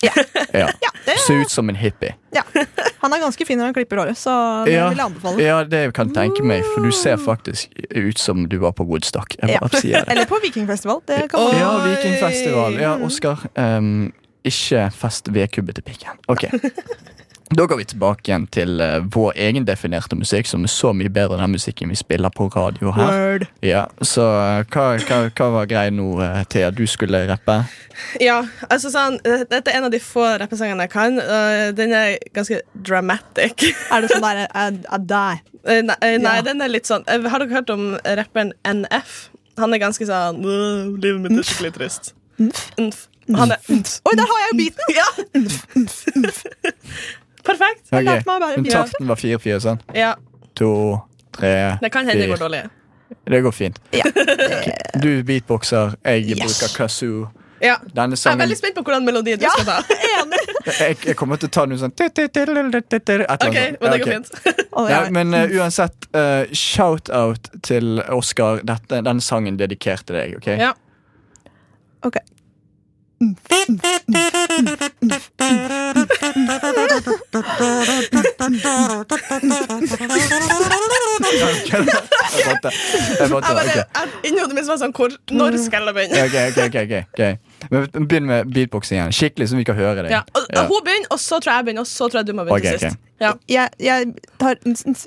Speaker 5: Ja.
Speaker 7: det-
Speaker 5: Se ut som en hippie.
Speaker 7: Ja. Han er ganske fin når han klipper håret, så det
Speaker 5: Ja.
Speaker 7: vil jeg anbefale. Mm.
Speaker 5: Ja, det kan jeg tenke meg, for du ser faktisk ut som du var på Woodstock. Jeg bare sier det.
Speaker 7: Eller på vikingfestival. Det kan man.
Speaker 6: Oi.
Speaker 5: Ja, Vikingfestival. Ja, Oskar. ehm, ikke fest vedkubbe til pikken. Ok. Da går vi tilbake igjen til eh, vår egendefinerte musikk, som er så mye bedre enn den musikken vi spiller på radio her.
Speaker 7: Word.
Speaker 5: Ja, så eh, hva, hva, hva var greia nå, eh, Thea? Du skulle rappe?
Speaker 6: ja altså sånn, eh, Dette er en av de få rappesangene jeg kan. og Den er ganske dramatic.
Speaker 7: Er det sånn der er, er deg?
Speaker 6: Eh, Nei, eh, nei
Speaker 7: Ja.
Speaker 6: den er litt sånn eh, Har dere hørt om rapperen NF? Han er ganske sånn «Åh, Livet mitt er skikkelig trist. Nf. Han er nf.
Speaker 7: Oi, der har jeg jo beaten!
Speaker 6: Ja! Perfekt.
Speaker 5: Ok,
Speaker 7: lærte meg å være
Speaker 5: Men
Speaker 7: bidrag.
Speaker 5: takten var fire-fire, sant?
Speaker 6: Ja,
Speaker 5: To, tre,
Speaker 6: Det kan hende det
Speaker 5: fire.
Speaker 6: går dårlig.
Speaker 5: Det går fint. Ok, Du beatboxer, jeg bruker kazoo.
Speaker 6: Ja.
Speaker 5: Denne
Speaker 6: Jeg er
Speaker 5: sangen
Speaker 6: veldig spent på hvordan melodi du skal ta.
Speaker 5: jeg, jeg kommer til å ta noe sånn Et eller annet sånt.
Speaker 6: Ok, men det
Speaker 5: Ok.
Speaker 6: går fint.
Speaker 7: Å,
Speaker 5: Ja,
Speaker 7: ja.
Speaker 5: men eh, uansett, eh, shout-out til Oskar. Dette- Denne sangen dedikert til deg. ok?
Speaker 6: Ja.
Speaker 7: Ok.
Speaker 5: Jeg fatter. Jeg
Speaker 6: Jeg
Speaker 5: fatter.
Speaker 6: bare,
Speaker 5: ok.
Speaker 6: jeg, inni hodet mitt var sånn hvor, Når skal jeg begynne?
Speaker 5: Ok, ok, ok, ok, ok. Men Begynn med beatboxing igjen. Skikkelig, så vi kan høre deg.
Speaker 6: Ja. Og, Hun begynner, og så tror jeg jeg begynner, og så tror jeg du må begynne
Speaker 5: Ok,
Speaker 6: til
Speaker 5: ok.
Speaker 6: sist. Ja.
Speaker 7: Jeg, jeg tar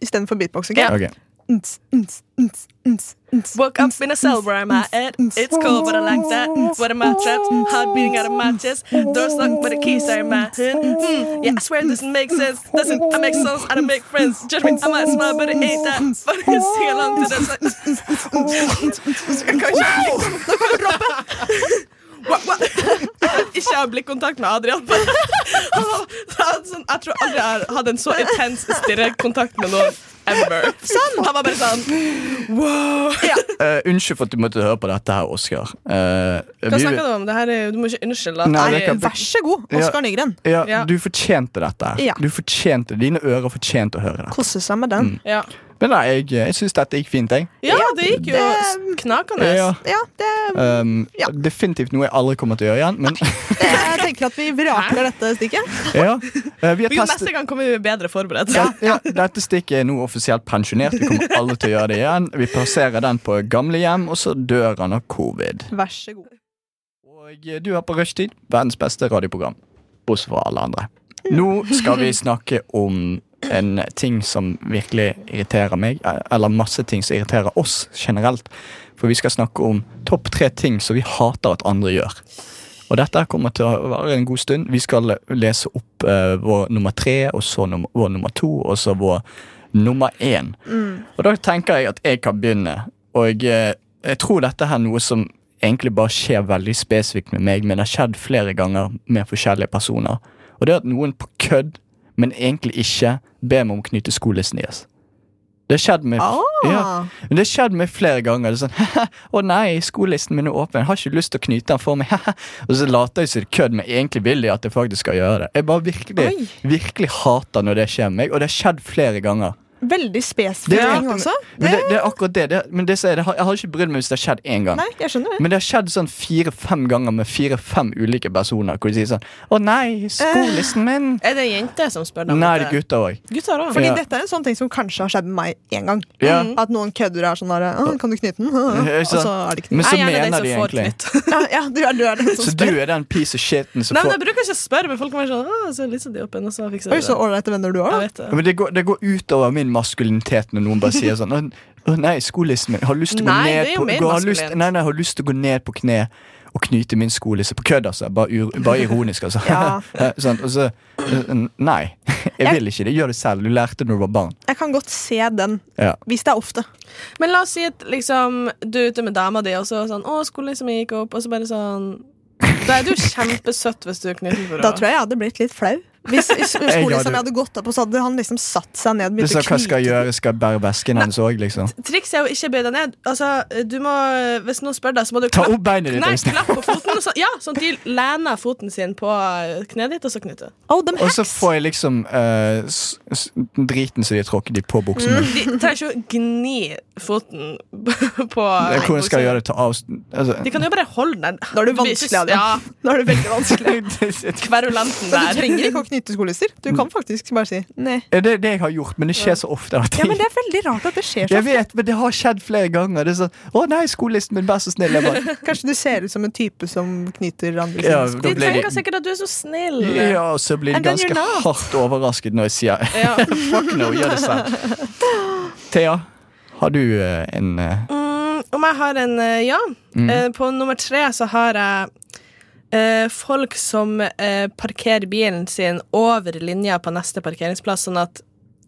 Speaker 7: istedenfor beatbox. ok?
Speaker 6: Ja.
Speaker 5: Ok.
Speaker 7: ns, ns, ns, ns, ns.
Speaker 6: Woke up in a cell where I'm at it. It's cold, but I like that. What am I trapped? Hard beating out of my chest. Doors locked, but the keys are in my head. Hmm, yeah, I swear it doesn't make sense. Doesn't I make sense? I don't make friends. Judgment, I might smile, but it ain't that. But you sing along to this. Jeg kan ikke ha blikkontakt- Nå kan du roppe! Hva- hva? Jeg kan Ikke ha blikkontakt med Adrian. Han var- han sånn- Jeg tror aldri jeg har hatt en så intens stirrekontakt med noen ever. Han var bare sånn
Speaker 5: Eh, unnskyld for at du måtte høre på dette her, Oskar. Eh,
Speaker 6: Hva
Speaker 5: vi-
Speaker 6: snakker du om? Det her er, du må ikke unnskylde. da.
Speaker 5: Nei,
Speaker 6: Jeg-
Speaker 5: det kan-
Speaker 7: Vær så god, Oskar Nygren.
Speaker 5: Ja,
Speaker 6: Ja.
Speaker 5: Du fortjente dette. her
Speaker 7: Ja.
Speaker 5: Du fortjente, Dine ører fortjente å høre det.
Speaker 7: Kose seg med
Speaker 5: Mm.
Speaker 7: den.
Speaker 6: Ja.
Speaker 5: Men nei, jeg, eh, jeg syns dette gikk fint. jeg
Speaker 6: ja, det gikk jo
Speaker 7: det-
Speaker 6: knakende.
Speaker 5: Ja.
Speaker 7: Ja, det,
Speaker 5: Um,
Speaker 7: Ja.
Speaker 5: Definitivt noe jeg aldri kommer til å gjøre igjen. Men
Speaker 7: det, jeg tenker at vi vraker dette stikket.
Speaker 5: ja. Eh, vi har
Speaker 6: Vi kan neste
Speaker 5: testet
Speaker 6: gang kommer vi bedre forberedt.
Speaker 5: ja, ja, Dette stikket er nå offisielt pensjonert. Vi kommer alle til å gjøre det igjen. Vi plasserer den på gamlehjem, og så dør han av covid.
Speaker 7: Vær så god.
Speaker 5: Og eh, du er på rushtid. Verdens beste radioprogram. Bortsett fra alle andre. Nå skal vi snakke om en ting som virkelig irriterer meg, eh, eller masse ting som irriterer oss generelt. For vi skal snakke om topp tre ting som vi hater at andre gjør. Og dette her kommer til å være en god stund. Vi skal lese opp eh, vår nummer tre, og så num vår nummer to, og så vår nummer én. Og da tenker jeg at jeg kan begynne. Og eh, jeg tror dette her er noe som egentlig bare skjer veldig spesifikt med meg, men det har skjedd flere ganger med forskjellige personer. Og det er at noen på kødd, men egentlig ikke, ber meg om å knytte skolissen deres. Det har skjedd med ja. Men det har skjedd meg flere ganger. Det er sånn, Å nei, skolelisten min er åpen. Jeg har ikke lyst til å knyte den for meg. og så later jeg som det er kødd, men egentlig vil jeg at jeg faktisk skal gjøre det. Jeg bare virkelig, virkelig hater når det skjer med meg, og det har skjedd flere ganger.
Speaker 7: Veldig
Speaker 5: Det
Speaker 7: spesifikk
Speaker 5: er-
Speaker 7: ting også.
Speaker 5: Men det, det er akkurat det. det men det, som er, det har, jeg har ikke brydd meg hvis det har skjedd én gang.
Speaker 7: Nei, jeg skjønner det.
Speaker 5: Men det har skjedd sånn fire-fem ganger med fire-fem ulike personer. Hvor de sier sånn Å nei, skolelisten min!
Speaker 7: Eh.
Speaker 6: Er det jenter som spør deg? om
Speaker 5: Nei, det
Speaker 6: dette?
Speaker 5: er gutter òg.
Speaker 6: Gutter òg.
Speaker 7: Fordi
Speaker 5: Ja.
Speaker 7: dette er en sånn ting som kanskje har skjedd med meg én gang.
Speaker 5: Ja.
Speaker 6: Mm.
Speaker 7: At noen kødder og er sånn der «Å, Kan du knyte den? Og så er det knytt.
Speaker 5: sånn, Men så
Speaker 6: Jeg er gjerne den
Speaker 5: mener
Speaker 6: som
Speaker 5: de
Speaker 6: får
Speaker 5: egentlig
Speaker 6: knytt.
Speaker 7: Ja, du er, du er den som
Speaker 5: Så du
Speaker 7: spør.
Speaker 5: er den piece of shiten som
Speaker 6: Nei, men
Speaker 5: får
Speaker 6: Jeg bruker ikke å spørre, men folk kan være sånn «Å, så lyser de opp igjen, og så fikser de
Speaker 7: Oi, så
Speaker 6: det.
Speaker 7: ålreite venner du
Speaker 6: Jeg
Speaker 7: har, da.
Speaker 6: vet det.
Speaker 5: Ja, men det går, det går utover min maskulinitet når noen bare sier sånn «Å, Å nei, skolelisten min Har lyst til å gå
Speaker 6: Nei,
Speaker 5: ned
Speaker 6: det er jo
Speaker 5: på,
Speaker 6: mer
Speaker 5: gå, har lyst,
Speaker 6: maskulint.
Speaker 5: nei, nei, har lyst til å gå ned på kne og knyte min skolisse på kødd, altså. Bare, ur, bare ironisk, altså.
Speaker 7: Ja.
Speaker 5: sånn, og så øh, Nei, jeg vil ikke det. Gjør det selv. Du lærte når du var barn.
Speaker 7: Jeg kan godt se den.
Speaker 5: Ja.
Speaker 7: Hvis det er ofte.
Speaker 6: Men la oss si at liksom, du er ute med dama di, og så sånn 'Å, skolen som jeg gikk opp', og så bare sånn Da er du kjempesøtt hvis du er knyttet for
Speaker 7: Da tror jeg jeg hadde blitt litt flau. Hvis i s- skolen
Speaker 5: hadde-
Speaker 7: som jeg hadde gått opp, og så hadde han liksom satt seg ned.
Speaker 5: Du
Speaker 7: begynt
Speaker 5: sa
Speaker 7: å
Speaker 5: hva skal jeg
Speaker 7: knyte.
Speaker 5: gjøre? Skal jeg bære vesken hennes òg, liksom?
Speaker 6: Trikset er å ikke bøye deg ned. Altså, du må, hvis noen spør deg, så må du
Speaker 5: Ta
Speaker 6: klappe-
Speaker 5: opp beinet ditt,
Speaker 6: Nei,
Speaker 5: Øystein.
Speaker 6: klapp på foten. Så, ja, sånn at de lener foten sin på eh, kneet ditt, og så knytter.
Speaker 7: Oh, dem
Speaker 5: Og så
Speaker 7: hacks.
Speaker 5: får jeg liksom eh, s s driten som de har tråkket i på
Speaker 7: Mm.
Speaker 5: buksene.
Speaker 6: De trenger ikke å gni foten på
Speaker 5: Hvordan skal jeg gjøre det? Ta av altså,
Speaker 6: De kan jo bare holde den.
Speaker 7: Da er du vanskelig, Adrian.
Speaker 6: Ja,
Speaker 7: Nå er det veldig vanskelig.
Speaker 6: kverulenten
Speaker 7: Så du
Speaker 6: der.
Speaker 7: trenger ikke å knytte skolisser. Du kan faktisk bare si nei.
Speaker 5: Ja, Det er det jeg har gjort, men det skjer så ofte. at
Speaker 7: Ja, men
Speaker 5: jeg-
Speaker 7: Det er veldig rart at det skjer sånn. så
Speaker 5: Jeg vet, men det har skjedd flere ganger. Det er sånn, Å nei, skolelisten min, vær så snill. Jeg bare,
Speaker 7: Kanskje du ser ut som en type som knyter andre
Speaker 5: ja,
Speaker 7: sine
Speaker 5: da
Speaker 6: De
Speaker 5: ble
Speaker 6: tenker
Speaker 5: de,
Speaker 6: sikkert at du er så snill.
Speaker 5: ja, og så blir de
Speaker 7: And then
Speaker 5: ganske
Speaker 7: you're not.
Speaker 5: hardt overrasket når jeg sier
Speaker 6: Ja.
Speaker 5: fuck no, gjør det selv. Thea, har du eh, en eh,
Speaker 6: Mm, om jeg har en eh, ja.
Speaker 5: Mm.
Speaker 6: Eh, på nummer tre så har jeg eh, folk som eh, parkerer bilen sin over linja på neste parkeringsplass, sånn at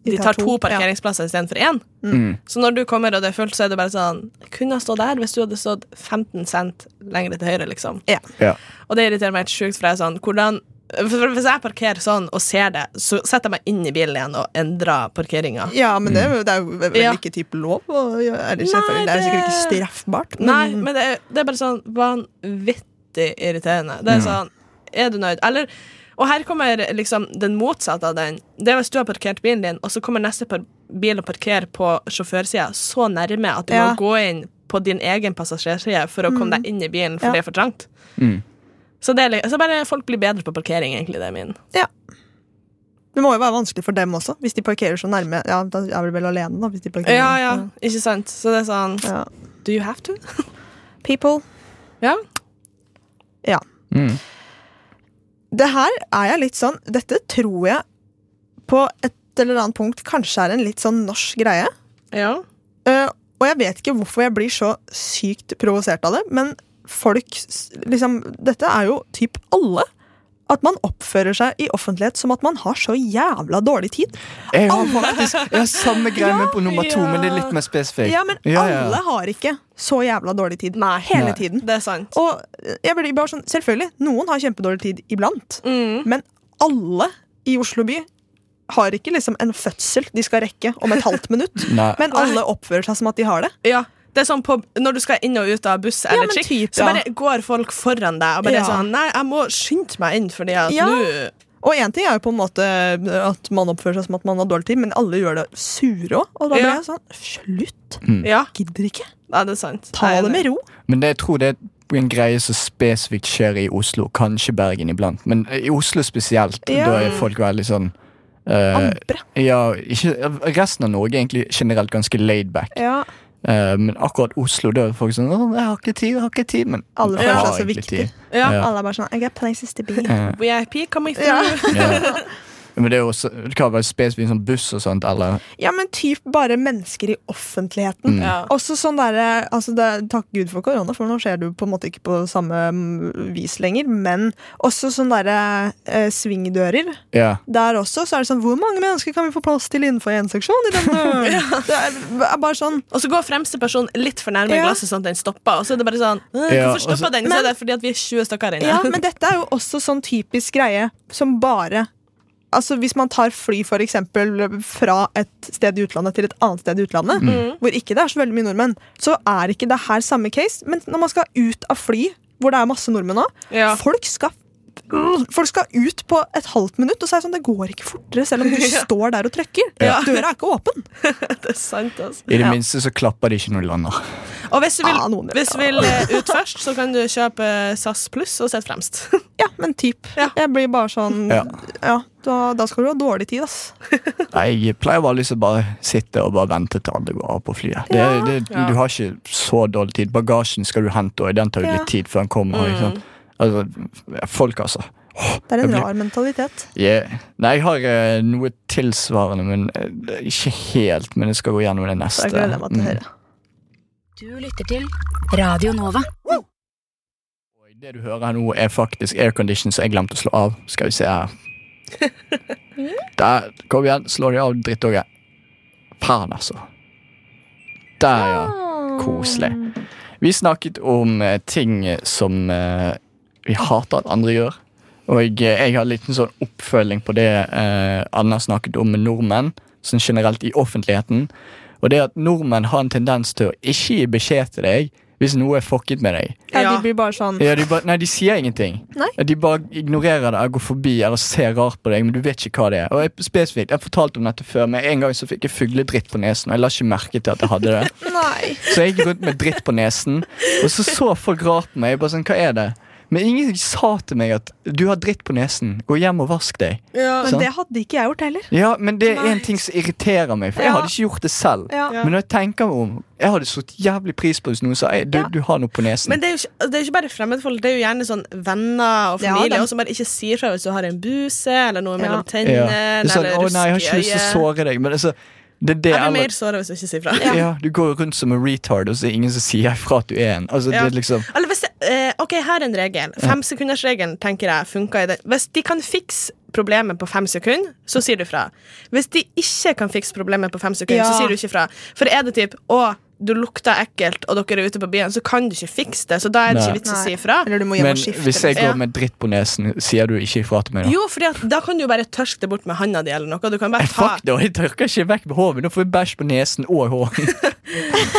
Speaker 6: de tar to parkeringsplasser istedenfor én.
Speaker 5: Mm.
Speaker 6: Så når du kommer og det er fullt, så er det bare sånn Kunne ha stått der hvis du hadde stått 15 cent lenger til høyre, liksom.
Speaker 7: Ja.
Speaker 5: Ja.
Speaker 6: Og det irriterer meg helt sjukt, for jeg er sånn hvordan for- for Hvis jeg parkerer sånn og ser det, så setter jeg meg inn i bilen igjen og endrer parkeringa.
Speaker 7: Ja, men det, er jo- det er jo vel
Speaker 6: Ja.
Speaker 7: ikke type lov. å gjøre- Er det, ikke,
Speaker 6: Nei,
Speaker 7: selvfølgelig- det er sikkert ikke
Speaker 6: det-
Speaker 7: straffbart.
Speaker 6: Nei, men det, er- det er bare sånn vanvittig irriterende. Det er sånn Er du nøyd? Eller Og her kommer liksom den motsatte av den. Det er hvis du har parkert bilen din, og så kommer neste par bil og parkerer på sjåførsida så nærme at du
Speaker 7: Ja.
Speaker 6: må gå inn på din egen passasjerside for å komme deg inn i bilen, for
Speaker 7: Ja.
Speaker 6: det er for trangt.
Speaker 5: Mm.
Speaker 6: Så, det er, li- så bare folk blir bedre på parkering, egentlig. Det er min.
Speaker 7: Det må jo være vanskelig for dem også, hvis de parkerer så nærme. Ja, da er vi vel alene, da. Hvis de parkerer.
Speaker 6: Ja, ja, ikke sant? Så det er sånn
Speaker 7: Ja.
Speaker 6: Mm. Do you have to?
Speaker 7: People.
Speaker 6: Ja.
Speaker 7: Ja.
Speaker 5: Mm.
Speaker 7: Det her er jeg litt sånn Dette tror jeg på et eller annet punkt kanskje er en litt sånn norsk greie.
Speaker 6: Ja.
Speaker 7: Eh, og jeg vet ikke hvorfor jeg blir så sykt provosert av det, men folk s- liksom, Dette er jo typ alle. At man oppfører seg i offentlighet som at man har så jævla dårlig tid.
Speaker 5: Jeg har faktisk jeg har samme greie med på nummer to, men det er litt mer spesifikt.
Speaker 7: Ja, men alle har ikke så jævla dårlig tid
Speaker 6: Nei.
Speaker 7: hele
Speaker 5: Nei.
Speaker 7: tiden.
Speaker 6: Det er sant.
Speaker 7: Og jeg blir bare sånn, selvfølgelig, noen har kjempedårlig tid iblant, men alle i Oslo by har ikke liksom en fødsel de skal rekke om et halvt minutt.
Speaker 5: Nei.
Speaker 7: Men alle oppfører seg som at de har det.
Speaker 6: Ja, det er sånn på, Når du skal inn og ut av buss eller
Speaker 7: men
Speaker 6: trikk,
Speaker 7: typ,
Speaker 6: så
Speaker 7: ja.
Speaker 6: bare går folk foran deg og bare
Speaker 7: Ja.
Speaker 6: sånn Nei, jeg må skynde meg inn, fordi at
Speaker 7: Ja.
Speaker 6: nå
Speaker 7: Og én ting er jo på en måte eh, at man oppfører seg som at man har dårlig tid, men alle gjør det sure òg. Og da blir
Speaker 6: Ja.
Speaker 7: jeg sånn Slutt!
Speaker 5: Mm.
Speaker 6: Ja,
Speaker 7: Gidder ikke.
Speaker 6: nei, det er sant.
Speaker 7: Ta
Speaker 6: Nei,
Speaker 7: det med ro.
Speaker 5: Men det, jeg tror det er en greie som spesifikt skjer i Oslo, kanskje Bergen iblant, men i Oslo spesielt.
Speaker 7: Ja.
Speaker 5: Da er folk veldig sånn eh,
Speaker 7: Andre.
Speaker 5: ja, ikke, resten av Norge er egentlig generelt ganske laid back.
Speaker 7: Ja.
Speaker 5: Eh, men akkurat Oslo, da er folk sånn «Åh, 'Jeg har ikke tid, jeg har ikke tid.' Men
Speaker 7: Alle
Speaker 5: jeg
Speaker 7: føler
Speaker 5: har
Speaker 7: seg så
Speaker 5: egentlig
Speaker 7: viktig.
Speaker 5: tid.
Speaker 6: Ja.
Speaker 5: Ja.
Speaker 7: Alle er bare sånn I got places to be.
Speaker 5: Eh,
Speaker 6: VIP, come with
Speaker 7: Ja.
Speaker 6: you.
Speaker 5: ja. Men det er jo også det kan være spesifikt sånn buss og sånt, eller
Speaker 7: Ja, men typ bare mennesker i offentligheten.
Speaker 6: Ja.
Speaker 7: Også sånn derre altså det, er- Takk Gud for korona, for nå skjer det jo på en måte ikke på samme mm, vis lenger. Men også sånn derre eh, svingdører.
Speaker 5: Ja.
Speaker 7: Der også så er det sånn Hvor mange mennesker kan vi få plass til innenfor én seksjon i denne? Det er, er bare sånn
Speaker 6: Og så går fremste person litt for nærme
Speaker 7: Ja.
Speaker 6: glasset, sånn at den stopper. Og så er det bare sånn «Øh,
Speaker 5: Ja, altså,
Speaker 6: Hvorfor stopper
Speaker 5: og så-
Speaker 6: den? Så er det fordi at vi er 20 stykker inne.
Speaker 7: Ja, men dette er jo også sånn typisk greie som bare Altså Hvis man tar fly for eksempel, fra et sted i utlandet til et annet sted i utlandet,
Speaker 5: Mm.
Speaker 7: hvor ikke det er så veldig mye nordmenn, så er ikke det her samme case. Men når man skal ut av fly, hvor det er masse nordmenn òg
Speaker 6: Ja.
Speaker 7: folk, skal- folk skal ut på et halvt minutt, og så er det sånn det går ikke fortere, selv om du står der og trykker. Døra er ikke åpen.
Speaker 6: Det er sant, altså.
Speaker 5: I det minste så klapper de ikke når de lander.
Speaker 6: Og hvis du vil,
Speaker 7: Ah, noen-
Speaker 6: hvis du vil eh, ut først, så kan du kjøpe SAS pluss og sitte fremst.
Speaker 7: Ja, men typ.
Speaker 6: Ja.
Speaker 7: Jeg blir bare sånn
Speaker 5: Ja.
Speaker 7: Ja, da, da skal du ha dårlig tid, ass.
Speaker 5: Jeg pleier vanligvis å bare sitte og bare vente til alle går av på flyet. Det, det, Du har ikke så dårlig tid. Bagasjen skal du hente, og den tar jo
Speaker 7: Ja.
Speaker 5: litt tid før den kommer. Ikke sant? Altså, ja, folk, altså. Åh,
Speaker 7: Det er
Speaker 5: jeg
Speaker 7: en
Speaker 5: blir-
Speaker 7: rar mentalitet.
Speaker 5: Yeah. Nei, jeg har eh, noe tilsvarende, men eh, ikke helt. Men jeg skal gå gjennom det neste.
Speaker 7: Da gleder jeg meg
Speaker 5: Mm.
Speaker 7: til å høre.
Speaker 8: Du lytter til Radio Nova.
Speaker 5: Mm. Det du hører her nå, er faktisk aircondition som jeg glemte å slå av. Skal vi se her. Der. Kom igjen, slå de av, drittunge. Faen, altså. Der, ja. Koselig. Vi snakket om eh, ting som eh, vi hater at andre gjør. Og jeg, jeg har en liten sånn oppfølging på det eh, Anna snakket om med nordmenn, sånn generelt i offentligheten. Og det er at nordmenn har en tendens til å ikke gi beskjed til deg hvis noe er fucket med deg.
Speaker 7: Ja,
Speaker 6: Ja.
Speaker 7: de blir bare sånn
Speaker 5: Ja, de bare, nei, de sier ingenting.
Speaker 7: Nei.
Speaker 5: De bare ignorerer deg, går forbi eller ser rart på deg, men du vet ikke hva det er. Og jeg, spesifikt, jeg har fortalt om dette før, men en gang så fikk jeg fugledritt på nesen, og jeg la ikke merke til at jeg hadde det.
Speaker 7: Nei.
Speaker 5: Så jeg gikk rundt med dritt på nesen, og så så folk rart på meg. Jeg bare sånn, hva er det? Men ingen sa til meg at du har dritt på nesen, gå hjem og vask deg.
Speaker 7: Men
Speaker 5: Sant?
Speaker 7: det hadde ikke jeg gjort heller.
Speaker 5: Ja, Men det er en ting som irriterer meg, for jeg
Speaker 7: Ja.
Speaker 5: hadde ikke gjort det selv.
Speaker 7: Ja.
Speaker 5: Men når jeg tenker meg om, jeg hadde satt jævlig pris på hvis noen sa «Ei, du,
Speaker 7: Ja.
Speaker 5: du har noe på nesen.
Speaker 6: Men det er, jo ikke, altså, det er jo ikke bare fremmedfolk, det er jo gjerne sånn venner og
Speaker 7: Ja,
Speaker 6: familie
Speaker 7: dem-
Speaker 6: og som bare ikke sier fra hvis du har en buse eller noe mellom
Speaker 5: ja.
Speaker 6: tennene.
Speaker 5: Du sa,
Speaker 6: Eller
Speaker 5: å nei, jeg har ikke lyst til å såre deg. Men altså, det er det
Speaker 6: Jeg blir
Speaker 5: eller-
Speaker 6: mer såra hvis du ikke sier fra.
Speaker 5: ja. Du går rundt som en retard, og så er det ingen som sier ifra at du er en. Altså,
Speaker 6: Ja.
Speaker 5: det er liksom
Speaker 6: Eller hvis det, eh, ok, her er en regel. Femsekundersregelen tenker jeg funker i det. Hvis de kan fikse problemet på fem sekunder, så sier du fra. Hvis de ikke kan fikse problemet på fem sekunder,
Speaker 7: Ja.
Speaker 6: så sier du ikke fra. For er det typ å, du lukter ekkelt, og dere er ute på byen, så kan du ikke fikse det. Så da er det
Speaker 5: Nei.
Speaker 6: ikke vits å si fra.
Speaker 7: Eller du må hjem
Speaker 5: Men
Speaker 7: og skifte.
Speaker 5: hvis jeg
Speaker 7: liksom.
Speaker 5: går
Speaker 6: Ja.
Speaker 5: med dritt på nesen, sier du ikke ifra til meg da?
Speaker 6: Jo, fordi at da kan du jo bare tørske det bort med handa di eller noe. Du kan bare
Speaker 5: Nei,
Speaker 6: ta
Speaker 5: fuck det, og jeg tørker ikke vekk med håret. Nå får jeg bæsj på nesen og håret.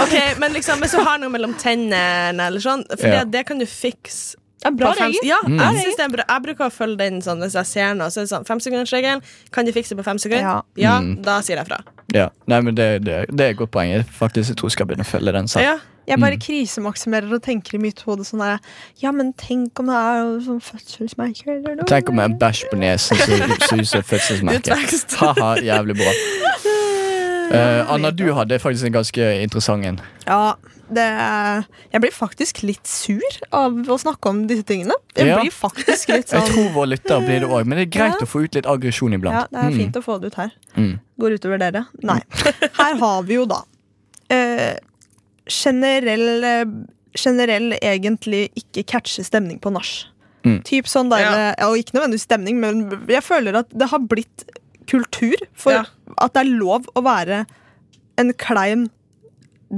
Speaker 6: Ok, men liksom, hvis du har noe mellom tennene eller sånn, for
Speaker 5: Ja. Mm.
Speaker 6: det, det kan du fikse.
Speaker 7: Ja, bra
Speaker 6: på fem-
Speaker 7: regel.
Speaker 6: Ja, jeg, synes det er bra. jeg bruker å følge den sånn hvis jeg ser noe. Så er det sånn, Femsekundersregelen. Kan de fikse det på fem sekunder?
Speaker 7: Ja.
Speaker 6: Ja,
Speaker 5: Mm.
Speaker 6: da sier jeg fra.
Speaker 5: ja, nei, men det, det, det er et godt poeng. Jeg faktisk jeg tror jeg skal begynne å følge den selv.
Speaker 6: Ja.
Speaker 7: Jeg
Speaker 5: Mm.
Speaker 7: bare krisemaksimerer og tenker i mitt hode sånn der Ja, men tenk om det er jo sånn fødselsmerke eller noe.
Speaker 5: Tenk om jeg har bæsj på nesen, så så ut som et fødselsmerke.
Speaker 6: Utvekst.
Speaker 5: Haha, jævlig bra. Eh, Anna, du hadde faktisk en ganske interessant en.
Speaker 7: Ja, det er- Jeg blir faktisk litt sur av å snakke om disse tingene. Jeg
Speaker 5: Ja.
Speaker 7: blir faktisk litt
Speaker 5: Jeg
Speaker 7: sånn
Speaker 5: tror vår lytter blir det òg, men det er greit å få ut litt aggresjon
Speaker 7: Ja,
Speaker 5: iblant.
Speaker 7: det er
Speaker 5: Mm.
Speaker 7: fint å få det ut her.
Speaker 5: Mm.
Speaker 7: Går utover dere? Nei. Her har vi jo da eh, generell, eh, generell egentlig ikke catcher stemning på nach.
Speaker 5: Mm.
Speaker 7: Typ sånn der,
Speaker 6: Ja.
Speaker 7: ja, og Ikke nødvendigvis stemning, men jeg føler at det har blitt kultur for
Speaker 6: Ja.
Speaker 7: at det er lov å være en klein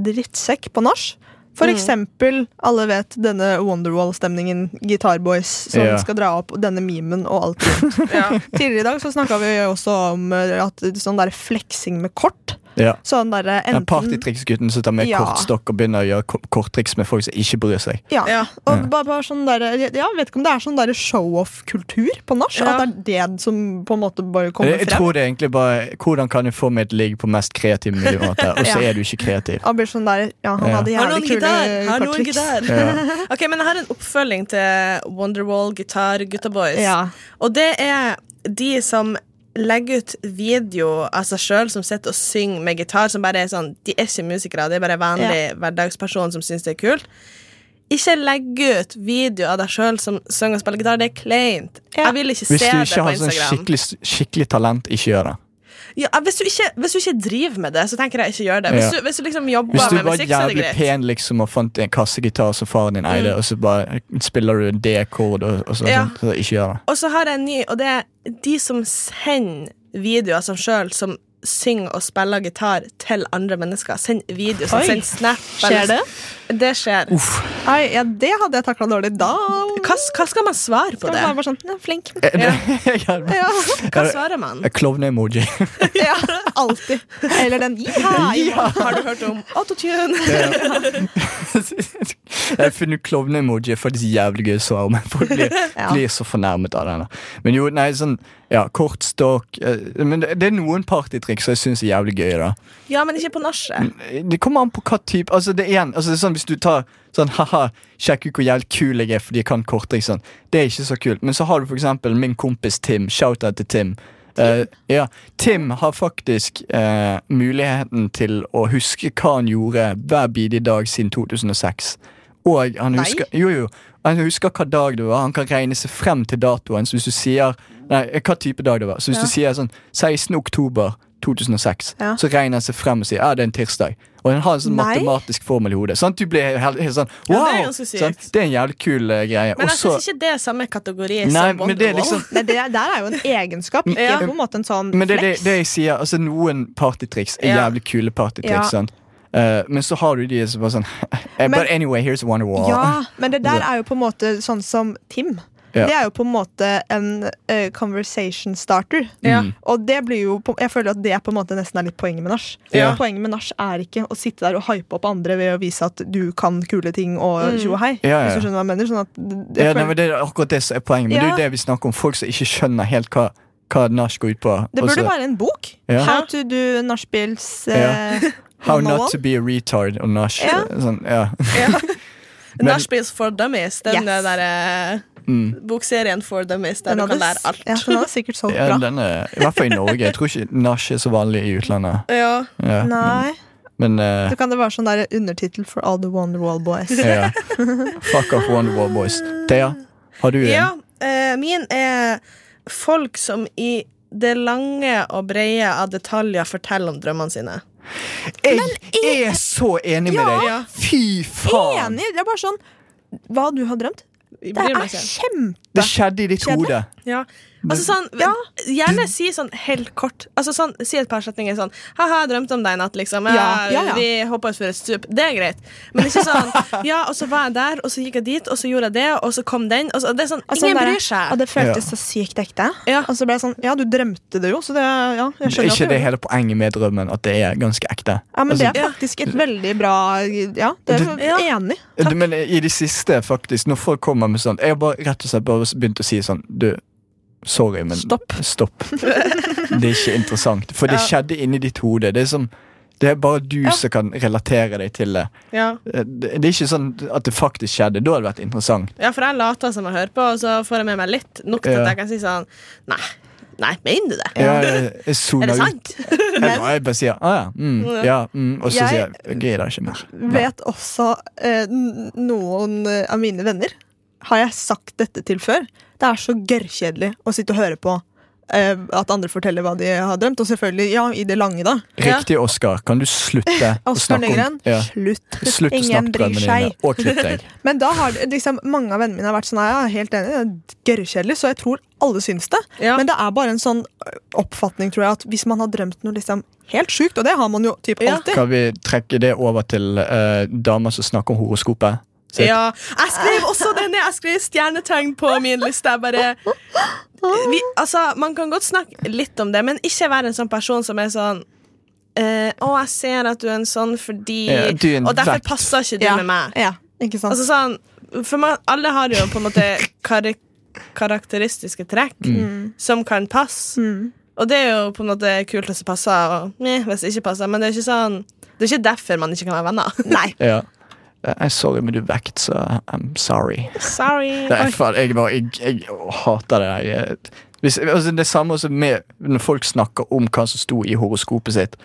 Speaker 7: drittsekk på nach. For
Speaker 6: Mm.
Speaker 7: eksempel, alle vet denne Wonderwall-stemningen, Guitarboys som
Speaker 5: Ja.
Speaker 7: skal dra opp denne memen og alt. Tidligere i dag så snakka vi også om eh, at sånn der fleksing med kort.
Speaker 5: Ja.
Speaker 7: Sånn derre
Speaker 5: Den
Speaker 7: enten
Speaker 5: partytriksgutten som tar med
Speaker 7: Ja.
Speaker 5: kortstokk og begynner å gjøre ko- korttriks med folk som ikke bryr seg.
Speaker 7: Ja.
Speaker 6: Ja.
Speaker 7: Og bare, bare sånn der, ja, vet ikke om det er sånn derre show-off-kultur på nach.
Speaker 6: Ja.
Speaker 7: At det er det som på en måte bare kommer
Speaker 5: Jeg, jeg
Speaker 7: frem.
Speaker 5: tror det er egentlig bare Hvordan kan jeg få meg et ligg på mest kreativ mulig måte, og så
Speaker 7: Ja.
Speaker 5: er du ikke kreativ?
Speaker 7: Og blir sånn der, ja, han
Speaker 5: Ja.
Speaker 7: hadde
Speaker 6: Har noen
Speaker 7: jævlig kule
Speaker 6: gitar? Har noen
Speaker 7: korttriks.
Speaker 6: gitar?
Speaker 5: Ja.
Speaker 6: Ok, men jeg har en oppfølging til Wonderwall Guitar Gutta Boys.
Speaker 7: Ja.
Speaker 6: Og det er de som legger ut video av seg sjøl som sitter og synger med gitar, som bare er sånn De er ikke musikere, de er bare vanlige hverdagspersoner som syns det er kult. Ikke legg ut video av deg sjøl som synger og spiller gitar. Det er kleint.
Speaker 7: Ja.
Speaker 6: Jeg vil ikke
Speaker 5: Hvis
Speaker 6: se
Speaker 5: du
Speaker 6: det
Speaker 5: ikke
Speaker 6: på
Speaker 5: har sånn
Speaker 6: Instagram.
Speaker 5: skikkelig, skikkelig talent, ikke gjør det.
Speaker 6: Ja, hvis, du ikke, hvis du ikke driver med det, så tenker jeg ikke gjør det. Hvis
Speaker 5: Ja.
Speaker 6: du, hvis du liksom jobber
Speaker 5: Hvis du
Speaker 6: med
Speaker 5: var
Speaker 6: musikk, så er det
Speaker 5: jævlig
Speaker 6: greit. Mm.
Speaker 5: pen liksom og fant en kassegitar som faren din eide, og så bare spiller du en D-kord og, og så,
Speaker 6: Ja.
Speaker 5: sånn, så ikke gjør det.
Speaker 6: Og så har jeg en ny, og det er de som sender videoer av seg sjøl som synger og spiller gitar til andre mennesker. Send video, som
Speaker 7: Oi.
Speaker 6: send snap.
Speaker 7: Skjer det?
Speaker 6: Det skjer.
Speaker 7: Nei, ja, det hadde jeg takla dårlig da.
Speaker 6: Hva, hva skal man svare på
Speaker 7: Skal
Speaker 6: det?
Speaker 7: man være bare sånn, ja, flink.
Speaker 5: Jeg hadde bare-
Speaker 7: Ja,
Speaker 6: Hva svarer man?
Speaker 5: Jeg Klovne-emoji.
Speaker 7: ja, alltid. Eller den ja.
Speaker 6: Har du hørt om autotune?
Speaker 5: Jeg har funnet klovne-emoji er faktisk jævlig gøy å svare, men folk blir,
Speaker 7: Ja.
Speaker 5: blir så fornærmet av den. da. Men jo, nei, sånn ja, kortstokk eh, Men det, det er noen partytriks som jeg syns er jævlig gøy, da.
Speaker 6: Ja, men ikke på nachet.
Speaker 5: Det kommer an på hva type Altså det er igjen, altså det er sånn Hvis du tar sånn haha, sjekk ut hvor jævlig kul jeg er fordi jeg kan korttriks. Sånn. Det er ikke så kult. Men så har du for eksempel min kompis Tim. Shout-out til Tim. Eh, ja, Tim har faktisk eh, muligheten til å huske hva han gjorde hver bidige dag siden 2006. Og han
Speaker 7: Nei.
Speaker 5: husker, jo, jo, han husker hva dag det var. Han kan regne seg frem til datoen. Så hvis du sier Nei, hva type dag det var. Så hvis du sier sånn 16. oktober 2006,
Speaker 7: Ja.
Speaker 5: så regner han seg frem og sier ja, det er en tirsdag. Og han har en sånn
Speaker 7: Nei.
Speaker 5: matematisk formel i hodet. Sånn, at du blir helt, helt sånn
Speaker 6: Ja, det
Speaker 5: wow!
Speaker 6: er ganske sykt.
Speaker 5: sant? det er en jævlig kul eh, greie.
Speaker 6: Men
Speaker 5: Og
Speaker 6: jeg
Speaker 5: så-
Speaker 6: syns ikke det er samme kategori
Speaker 5: Nei,
Speaker 6: som
Speaker 5: men det er
Speaker 6: Wonderwall.
Speaker 5: liksom
Speaker 7: Nei, det der er jo en egenskap, ikke
Speaker 6: Ja.
Speaker 7: på en måte en sånn
Speaker 5: Men det er det,
Speaker 7: flex.
Speaker 5: det jeg sier, altså noen partytriks er
Speaker 6: Ja.
Speaker 5: jævlig kule partytriks.
Speaker 7: Ja.
Speaker 5: sant? Eh, men så har du de som bare sånn eh, But anyway, here's one wall.
Speaker 7: Ja, men det der er jo på en måte sånn som Tim.
Speaker 5: Ja.
Speaker 7: Det er jo på en måte en eh, conversation starter.
Speaker 5: Mm.
Speaker 7: Og det blir jo på, jeg føler at det på en måte nesten er litt poenget med nach.
Speaker 5: Ja.
Speaker 7: Poenget med nach er ikke å sitte der og hype opp andre ved å vise at du kan kule ting og tjo og hei.
Speaker 5: Ja, ja.
Speaker 7: Hvis du skjønner hva jeg mener. Sånn at d- jeg
Speaker 5: Ja, nei,
Speaker 7: føler,
Speaker 5: men det er akkurat det som er poenget. Men det er jo
Speaker 7: Ja.
Speaker 5: det vi snakker om. Folk som ikke skjønner helt hva, hva nach går ut på.
Speaker 7: det
Speaker 5: og
Speaker 7: burde
Speaker 5: så-
Speaker 7: være en bok.
Speaker 5: Ja.
Speaker 7: How to do nachspiels
Speaker 5: Ja.
Speaker 7: eh,
Speaker 5: How
Speaker 7: 101.
Speaker 5: not to be a retard og nach.
Speaker 7: Ja.
Speaker 5: Sånn, ja. Men- Mm.
Speaker 6: Nachspiels for dummies, den
Speaker 7: Yes.
Speaker 6: der eh, bokserien for dummies der
Speaker 7: Den
Speaker 6: du
Speaker 7: hadde,
Speaker 6: kan lære
Speaker 7: s-
Speaker 6: alt.
Speaker 7: ja, den hadde sikkert solgt
Speaker 5: ja,
Speaker 7: bra.
Speaker 5: den er, I hvert fall i Norge. Jeg tror ikke nach er så vanlig i utlandet.
Speaker 6: Ja.
Speaker 5: Ja.
Speaker 7: Nei,
Speaker 5: Men eh,
Speaker 7: så kan det være sånn der undertittel for all the Wonderwall boys.
Speaker 5: ja. Fuck off Wonderwall Boys. Thea, har du en?
Speaker 6: Ja, eh, min er folk som i det lange og brede av detaljer forteller om drømmene sine.
Speaker 5: Jeg er så enig med
Speaker 6: Ja.
Speaker 5: deg! Fy faen!
Speaker 7: Enig! Det er bare sånn Hva du har drømt?
Speaker 6: Jeg
Speaker 7: Det
Speaker 6: bryr meg
Speaker 7: er
Speaker 6: ikke.
Speaker 7: kjempe
Speaker 5: Det skjedde i ditt
Speaker 7: Kjedelig.
Speaker 5: hode.
Speaker 6: Ja. Altså sånn, Gjerne si sånn helt kort. Altså sånn, Si et par setninger sånn Ha-ha, jeg drømte om deg i natt, liksom. Ja,
Speaker 7: Ja, ja, ja.
Speaker 6: Vi hoppa utfor et stup. Det er greit. Men ikke sånn Ja, og så var jeg der, og så gikk jeg dit, og så gjorde jeg det, og så kom den. Og så, det er sånn,
Speaker 7: Og sånn
Speaker 6: Ingen
Speaker 7: der,
Speaker 6: bryr seg.
Speaker 7: Og det føltes
Speaker 5: Ja.
Speaker 7: så sykt ekte.
Speaker 6: Ja.
Speaker 7: Og så ble jeg sånn Ja, du drømte det jo, så det Ja, jeg
Speaker 5: Det er
Speaker 7: skjønner
Speaker 5: ikke
Speaker 7: at du
Speaker 5: det hele poenget med drømmen, at det er ganske ekte.
Speaker 7: ja, men
Speaker 5: Altså,
Speaker 7: Det er faktisk et veldig bra Ja, det er
Speaker 5: Det-
Speaker 7: jeg enig.
Speaker 5: Du, Men i det siste, faktisk, når folk kommer med sånn Jeg har bare rett og slett bare begynt å si sånn Du, sorry, men
Speaker 7: Stopp.
Speaker 5: stopp. Det er ikke interessant. For det skjedde inni ditt hode. Det er som det er bare du som kan relatere deg til det.
Speaker 6: ja.
Speaker 5: Det det er ikke sånn at det faktisk skjedde. Da hadde det vært interessant.
Speaker 6: ja, for jeg later som jeg hører på, og så får jeg med meg litt. Nok til
Speaker 5: Ja.
Speaker 6: at jeg kan si sånn Nei, nei, mener du det?
Speaker 5: Jeg, jeg
Speaker 6: Er
Speaker 5: soner
Speaker 6: det
Speaker 5: ut.
Speaker 6: sant?
Speaker 5: Jeg, bare- jeg bare sier ah, ja, mm, ja, mm, og så
Speaker 7: Jeg-
Speaker 5: sier jeg jeg gidder ikke mer. Nei.
Speaker 7: Vet også eh, n- noen eh, av mine venner Har jeg sagt dette til før? Det er så gørrkjedelig å sitte og høre på eh, at andre forteller hva de har drømt. Og selvfølgelig, ja, i det lange, da.
Speaker 5: Riktig, Oskar. Kan du slutte å
Speaker 7: Oskar
Speaker 5: snakke om
Speaker 7: Nøgren,
Speaker 5: ja.
Speaker 7: slutt.
Speaker 5: Slutt å
Speaker 7: Ingen
Speaker 5: snakke om
Speaker 7: bryr
Speaker 5: drømmene
Speaker 7: seg.
Speaker 5: dine, og klipp deg.
Speaker 7: Men da har det- liksom, mange av vennene mine har vært sånn «Nei, jeg er helt enig, det er gørrkjedelig, så jeg tror alle syns det.
Speaker 6: Ja.
Speaker 7: Men det er bare en sånn oppfatning, tror jeg, at hvis man har drømt noe liksom helt sjukt, og det har man jo typ
Speaker 6: Ja.
Speaker 7: alltid
Speaker 5: Kan vi trekke det over til eh, damer som snakker om horoskopet? Så-
Speaker 6: Ja, jeg skrev også denne. Jeg skrev stjernetegn på min liste. Jeg bare vi, Altså, Man kan godt snakke litt om det, men ikke være en sånn person som er sånn eh, Å, jeg ser at du er en sånn fordi
Speaker 5: Ja, du er en
Speaker 6: Og derfor
Speaker 5: vekt.
Speaker 6: passer ikke du
Speaker 7: Ja.
Speaker 6: med meg.
Speaker 7: Ja, ikke sant?
Speaker 6: Altså sånn, for man, Alle har jo på en måte kar karakteristiske trekk
Speaker 5: Mm.
Speaker 6: som kan passe. Og det er jo på en måte kult hvis det passer, og meh, hvis det ikke passer. Men det er ikke sånn Det er ikke derfor man ikke kan være venner. Nei,
Speaker 5: Ja. Eh, sorry, men du er vekt, så I'm sorry.
Speaker 6: sorry
Speaker 5: Det er faen, jeg, bare, jeg, jeg å, hater det der. Jeg- Hvis, altså, det samme også med når folk snakker om hva som sto i horoskopet sitt.